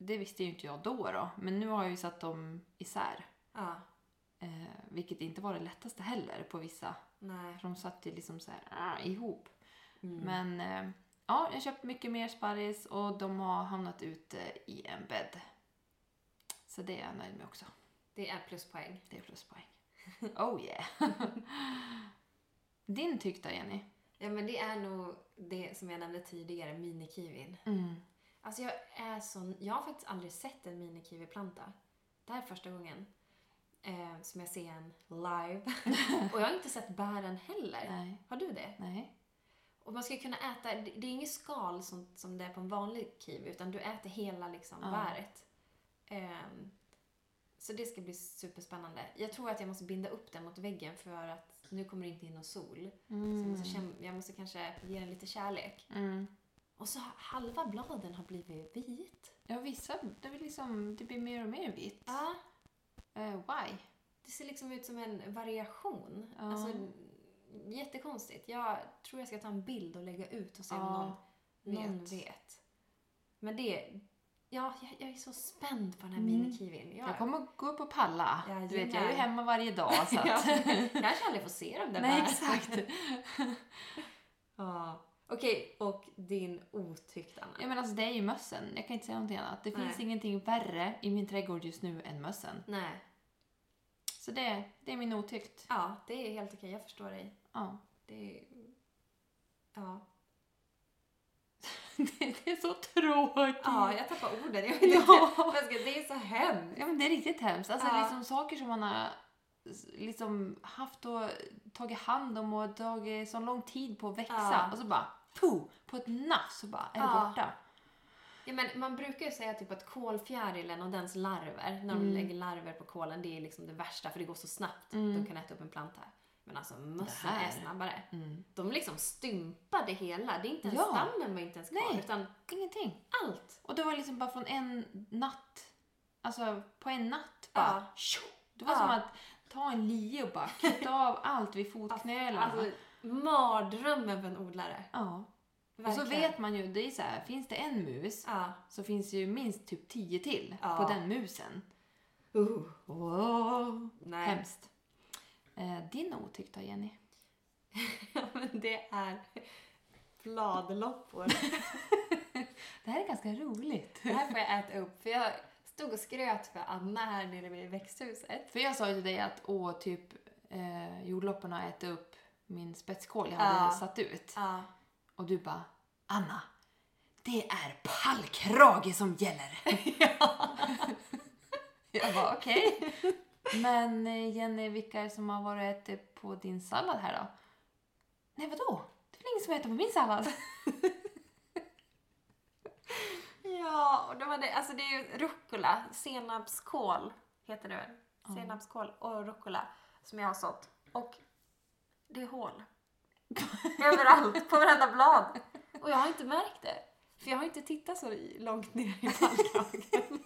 [SPEAKER 1] det visste ju inte jag då, då. Men nu har jag ju satt dem isär.
[SPEAKER 2] Ja.
[SPEAKER 1] Eh, Vilket inte var det lättaste heller på vissa.
[SPEAKER 2] Nej.
[SPEAKER 1] För de satt ju liksom så här, ah, ihop.
[SPEAKER 2] Mm.
[SPEAKER 1] Men eh, ja, jag har köpt mycket mer sparris och de har hamnat ute i en bädd. Så det är jag nöjd med också.
[SPEAKER 2] Det är pluspoäng.
[SPEAKER 1] Det är pluspoäng. Oh yeah! [laughs] Din tyck då, Jenny?
[SPEAKER 2] Ja, men det är nog det som jag nämnde tidigare, minikiwin.
[SPEAKER 1] Mm.
[SPEAKER 2] Alltså jag är så... Jag har faktiskt aldrig sett en minikiwiplanta. Det här är första gången eh, som jag ser en
[SPEAKER 1] [laughs]
[SPEAKER 2] live. Och jag har inte sett bären heller.
[SPEAKER 1] Nej.
[SPEAKER 2] Har du det?
[SPEAKER 1] Nej.
[SPEAKER 2] Och man ska kunna äta, det det är inget skal som, som det är på en vanlig kiwi utan du äter hela liksom
[SPEAKER 1] Ja.
[SPEAKER 2] bäret. Ehm, så det ska bli superspännande. Jag tror att jag måste binda upp den mot väggen för att nu kommer det inte in någon sol. Så jag
[SPEAKER 1] Mm.
[SPEAKER 2] måste, käm- jag måste kanske ge den lite kärlek.
[SPEAKER 1] Mm.
[SPEAKER 2] Och så har- halva bladen har blivit vit.
[SPEAKER 1] Ja, vissa, det, blir liksom, det blir mer och mer vitt.
[SPEAKER 2] Ja.
[SPEAKER 1] Eh, why?
[SPEAKER 2] Det ser liksom ut som en variation.
[SPEAKER 1] Ja.
[SPEAKER 2] Alltså, jättekonstigt. Jag tror jag ska ta en bild och lägga ut och se om
[SPEAKER 1] Ja,
[SPEAKER 2] någon Någon
[SPEAKER 1] vet.
[SPEAKER 2] vet. Men det... Ja, jag, jag är så spänd på den här
[SPEAKER 1] Mm.
[SPEAKER 2] minikiwin. Jag,
[SPEAKER 1] Jag kommer gå upp och palla.
[SPEAKER 2] Ja,
[SPEAKER 1] du vet, jag är ju
[SPEAKER 2] gillar.
[SPEAKER 1] hemma varje dag. Så
[SPEAKER 2] [laughs]
[SPEAKER 1] [laughs]
[SPEAKER 2] Ja,
[SPEAKER 1] att...
[SPEAKER 2] kanske aldrig får se dem där
[SPEAKER 1] Nej,
[SPEAKER 2] bara.
[SPEAKER 1] exakt.
[SPEAKER 2] [laughs] Ja. Okej, och din otyckt Anna.
[SPEAKER 1] Ja, men alltså, det är ju mössen. Jag kan inte säga någonting annat. Det finns
[SPEAKER 2] Nej.
[SPEAKER 1] ingenting värre i min trädgård just nu än mössen.
[SPEAKER 2] Nej.
[SPEAKER 1] Så det, det är min otykt.
[SPEAKER 2] Ja, det är helt okej. Jag förstår dig.
[SPEAKER 1] Ja. [laughs]
[SPEAKER 2] Det är... Ja.
[SPEAKER 1] det är så tråkigt.
[SPEAKER 2] ja, jag tappar orden. [laughs] Jag vet inte.
[SPEAKER 1] Ja.
[SPEAKER 2] vad jag ska- Det är så hemskt.
[SPEAKER 1] Ja, men det är riktigt hemskt. Alltså,
[SPEAKER 2] Ja.
[SPEAKER 1] liksom, saker som man har s- liksom, haft och tagit hand om och tagit så lång tid på att växa.
[SPEAKER 2] Ja.
[SPEAKER 1] Och så bara, puh, på ett nafs så bara är
[SPEAKER 2] Ja.
[SPEAKER 1] det borta.
[SPEAKER 2] Ja, men man brukar ju säga typ att kolfjärilen och dens larver, när de
[SPEAKER 1] Mm.
[SPEAKER 2] lägger larver på kolen, det är liksom det värsta för det går så snabbt.
[SPEAKER 1] Mm.
[SPEAKER 2] De kan äta upp en planta. Men alltså mössen
[SPEAKER 1] här.
[SPEAKER 2] är snabbare.
[SPEAKER 1] Mm.
[SPEAKER 2] De liksom stympade hela. Det är inte ens
[SPEAKER 1] Ja.
[SPEAKER 2] stammen var inte ens kvar,
[SPEAKER 1] Nej.
[SPEAKER 2] utan
[SPEAKER 1] Ingenting.
[SPEAKER 2] allt.
[SPEAKER 1] Och det var liksom bara från en natt, alltså på en natt bara,
[SPEAKER 2] Ja.
[SPEAKER 1] tjo! Det var
[SPEAKER 2] Ja.
[SPEAKER 1] som att ta en lie och bara kutta av allt vid fotknölarna.
[SPEAKER 2] Alltså, mardrömmen för en odlare.
[SPEAKER 1] Ja. Och så
[SPEAKER 2] Verkligen.
[SPEAKER 1] vet man ju, det är så här, finns det en mus
[SPEAKER 2] Ja.
[SPEAKER 1] så finns ju minst typ tio till
[SPEAKER 2] Ja.
[SPEAKER 1] på den musen.
[SPEAKER 2] Uh,
[SPEAKER 1] Oh,
[SPEAKER 2] nej.
[SPEAKER 1] hemskt. Eh, din otyck då, Jenny?
[SPEAKER 2] [laughs] Ja, men det är bladloppor.
[SPEAKER 1] Det här är ganska roligt. [laughs]
[SPEAKER 2] Det här får jag äta upp för jag stod och skröt för Anna här nere vid växthuset.
[SPEAKER 1] För jag sa ju till dig att åh, typ eh, jordlopporna har ätit upp min spetskål jag
[SPEAKER 2] Ja.
[SPEAKER 1] hade satt ut.
[SPEAKER 2] Ja.
[SPEAKER 1] Och du bara, Anna, det är pallkrage som [laughs] gäller. jag bara, okej. Men eh, Jenny, vilka är det som har varit och ätit på din sallad här då? Nej, vadå? Det är väl ingen som äter på min sallad?
[SPEAKER 2] Ja, och de hade, alltså det är ju rucola, senapskål heter det väl? Senapskål och rucola som jag har sått. Och det är hål. Överallt, på varenda blad. Och jag har inte märkt det. För jag har inte tittat så långt ner i pallkragen.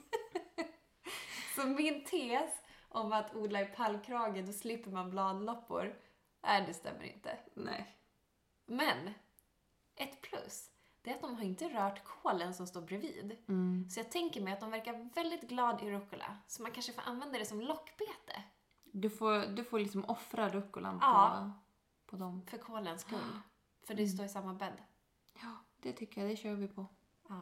[SPEAKER 2] så min tes om att odla i pallkrage, då slipper man bladloppor. Nej, det stämmer inte.
[SPEAKER 1] Nej.
[SPEAKER 2] Men ett plus, det är att de har inte rört kålen som står bredvid.
[SPEAKER 1] Mm.
[SPEAKER 2] Så jag tänker mig att de verkar väldigt glad i rucola, så man kanske får använda det som lockbete
[SPEAKER 1] Du, får, du får liksom offra rucolan
[SPEAKER 2] Ja.
[SPEAKER 1] på, på dem.
[SPEAKER 2] för
[SPEAKER 1] [gasps]
[SPEAKER 2] kålens skull. För
[SPEAKER 1] Mm.
[SPEAKER 2] det står i samma bädd.
[SPEAKER 1] Ja, det tycker jag. Det kör vi på.
[SPEAKER 2] Ja.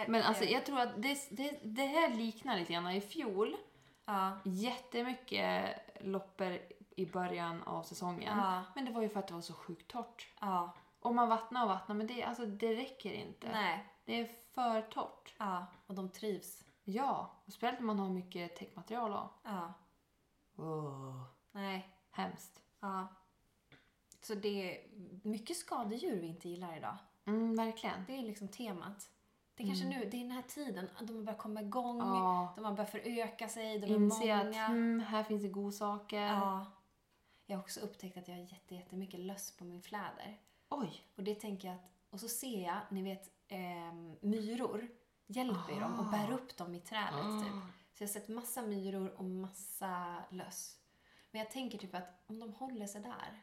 [SPEAKER 2] Äh,
[SPEAKER 1] Men alltså, jag tror att det, det, det här liknar lite grann i fjol.
[SPEAKER 2] Ja.
[SPEAKER 1] jättemycket loppor i början av säsongen.
[SPEAKER 2] Ja.
[SPEAKER 1] Men det var ju för att det var så sjukt torrt.
[SPEAKER 2] Ja.
[SPEAKER 1] Och man vattnar och vattnar men det, alltså, det räcker inte.
[SPEAKER 2] Nej.
[SPEAKER 1] Det är för torrt.
[SPEAKER 2] Ja. Och de trivs.
[SPEAKER 1] Ja, och speciellt när man har mycket täckmaterial av.
[SPEAKER 2] Ja.
[SPEAKER 1] Oh.
[SPEAKER 2] Nej.
[SPEAKER 1] Hemskt.
[SPEAKER 2] Ja. Så det är mycket skadedjur vi inte gillar idag.
[SPEAKER 1] Mm, verkligen.
[SPEAKER 2] Det är liksom temat. Det är kanske nu, det är den här tiden, de har börjat komma igång,
[SPEAKER 1] Mm. Ja.
[SPEAKER 2] de har börjat föröka sig, de är
[SPEAKER 1] Inse
[SPEAKER 2] många.
[SPEAKER 1] att hmm, här finns det godsaker.
[SPEAKER 2] Ja. Jag har också upptäckt att jag har jätte- jättemycket löss på min fläder.
[SPEAKER 1] Oj!
[SPEAKER 2] Och det tänker jag att, och så ser jag, ni vet, ehm, myror hjälper ju dem och
[SPEAKER 1] Ah.
[SPEAKER 2] bär upp dem i trädet typ.
[SPEAKER 1] Ah.
[SPEAKER 2] Så jag har sett massa myror och massa löss. Men jag tänker typ att om de håller sig där,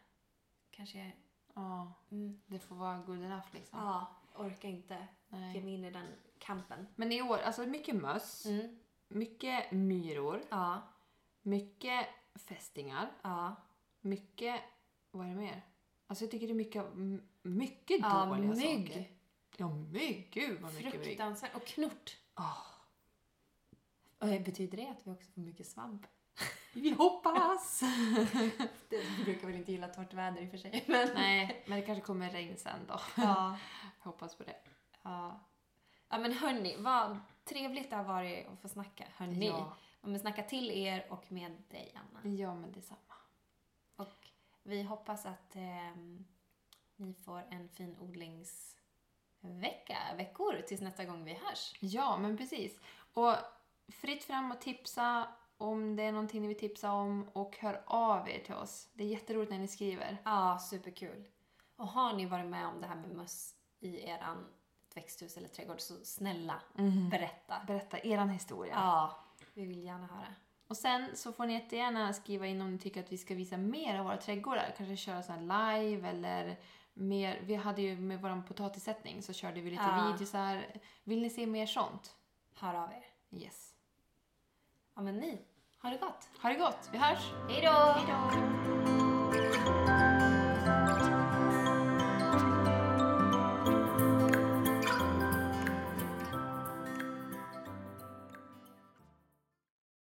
[SPEAKER 2] kanske,
[SPEAKER 1] Ja,
[SPEAKER 2] mm,
[SPEAKER 1] det får vara good enough liksom.
[SPEAKER 2] ja, orkar inte ge
[SPEAKER 1] Nej.
[SPEAKER 2] mig in i den kampen.
[SPEAKER 1] Men i år, alltså mycket möss,
[SPEAKER 2] Mm.
[SPEAKER 1] mycket myror,
[SPEAKER 2] Ja,
[SPEAKER 1] mycket fästingar.
[SPEAKER 2] ja,
[SPEAKER 1] Mycket, vad är det mer? Alltså jag tycker det är mycket, m- mycket
[SPEAKER 2] ja,
[SPEAKER 1] dåliga saker.
[SPEAKER 2] mygg.
[SPEAKER 1] Ja, mygg. Gud vad mycket mygg.
[SPEAKER 2] Fruktansvärt. Och knort.
[SPEAKER 1] Ah,
[SPEAKER 2] Och eh, betyder det att vi också får mycket svamp?
[SPEAKER 1] vi hoppas!
[SPEAKER 2] Det brukar väl inte gilla torrt väder i och för sig. [laughs] Men...
[SPEAKER 1] [laughs] Nej, men det kanske kommer regn sen då.
[SPEAKER 2] Ja.
[SPEAKER 1] Jag hoppas på det.
[SPEAKER 2] ja. Ja men hörni, vad trevligt det har varit att få snacka. Hörni.
[SPEAKER 1] Ja, Mm.
[SPEAKER 2] Och men snacka till er och med dig Anna.
[SPEAKER 1] ja men detsamma.
[SPEAKER 2] Och vi hoppas att ehm, ni får en fin odlingsvecka, veckor tills nästa gång vi hörs.
[SPEAKER 1] Ja, men precis. Och fritt fram och tipsa om det är någonting ni vill tipsa om och hör av er till oss. Det är jätteroligt när ni skriver.
[SPEAKER 2] Ja, superkul. Och har ni varit med om det här med möss i eran växthus eller trädgård så snälla
[SPEAKER 1] Mm.
[SPEAKER 2] berätta.
[SPEAKER 1] Berätta eran historia.
[SPEAKER 2] Ja, vi vill gärna höra.
[SPEAKER 1] Och sen så får ni jättegärna skriva in om ni tycker att vi ska visa mer av våra trädgårdar. Kanske köra sån här live eller mer. Vi hade ju med vår potatissättning så körde vi lite
[SPEAKER 2] Ja.
[SPEAKER 1] videos här. Vill ni se mer sånt?
[SPEAKER 2] Hör av er.
[SPEAKER 1] Yes.
[SPEAKER 2] Ja men ni, ha det gott!
[SPEAKER 1] Ha det gott, vi hörs!
[SPEAKER 2] Hej då!
[SPEAKER 1] Hejdå!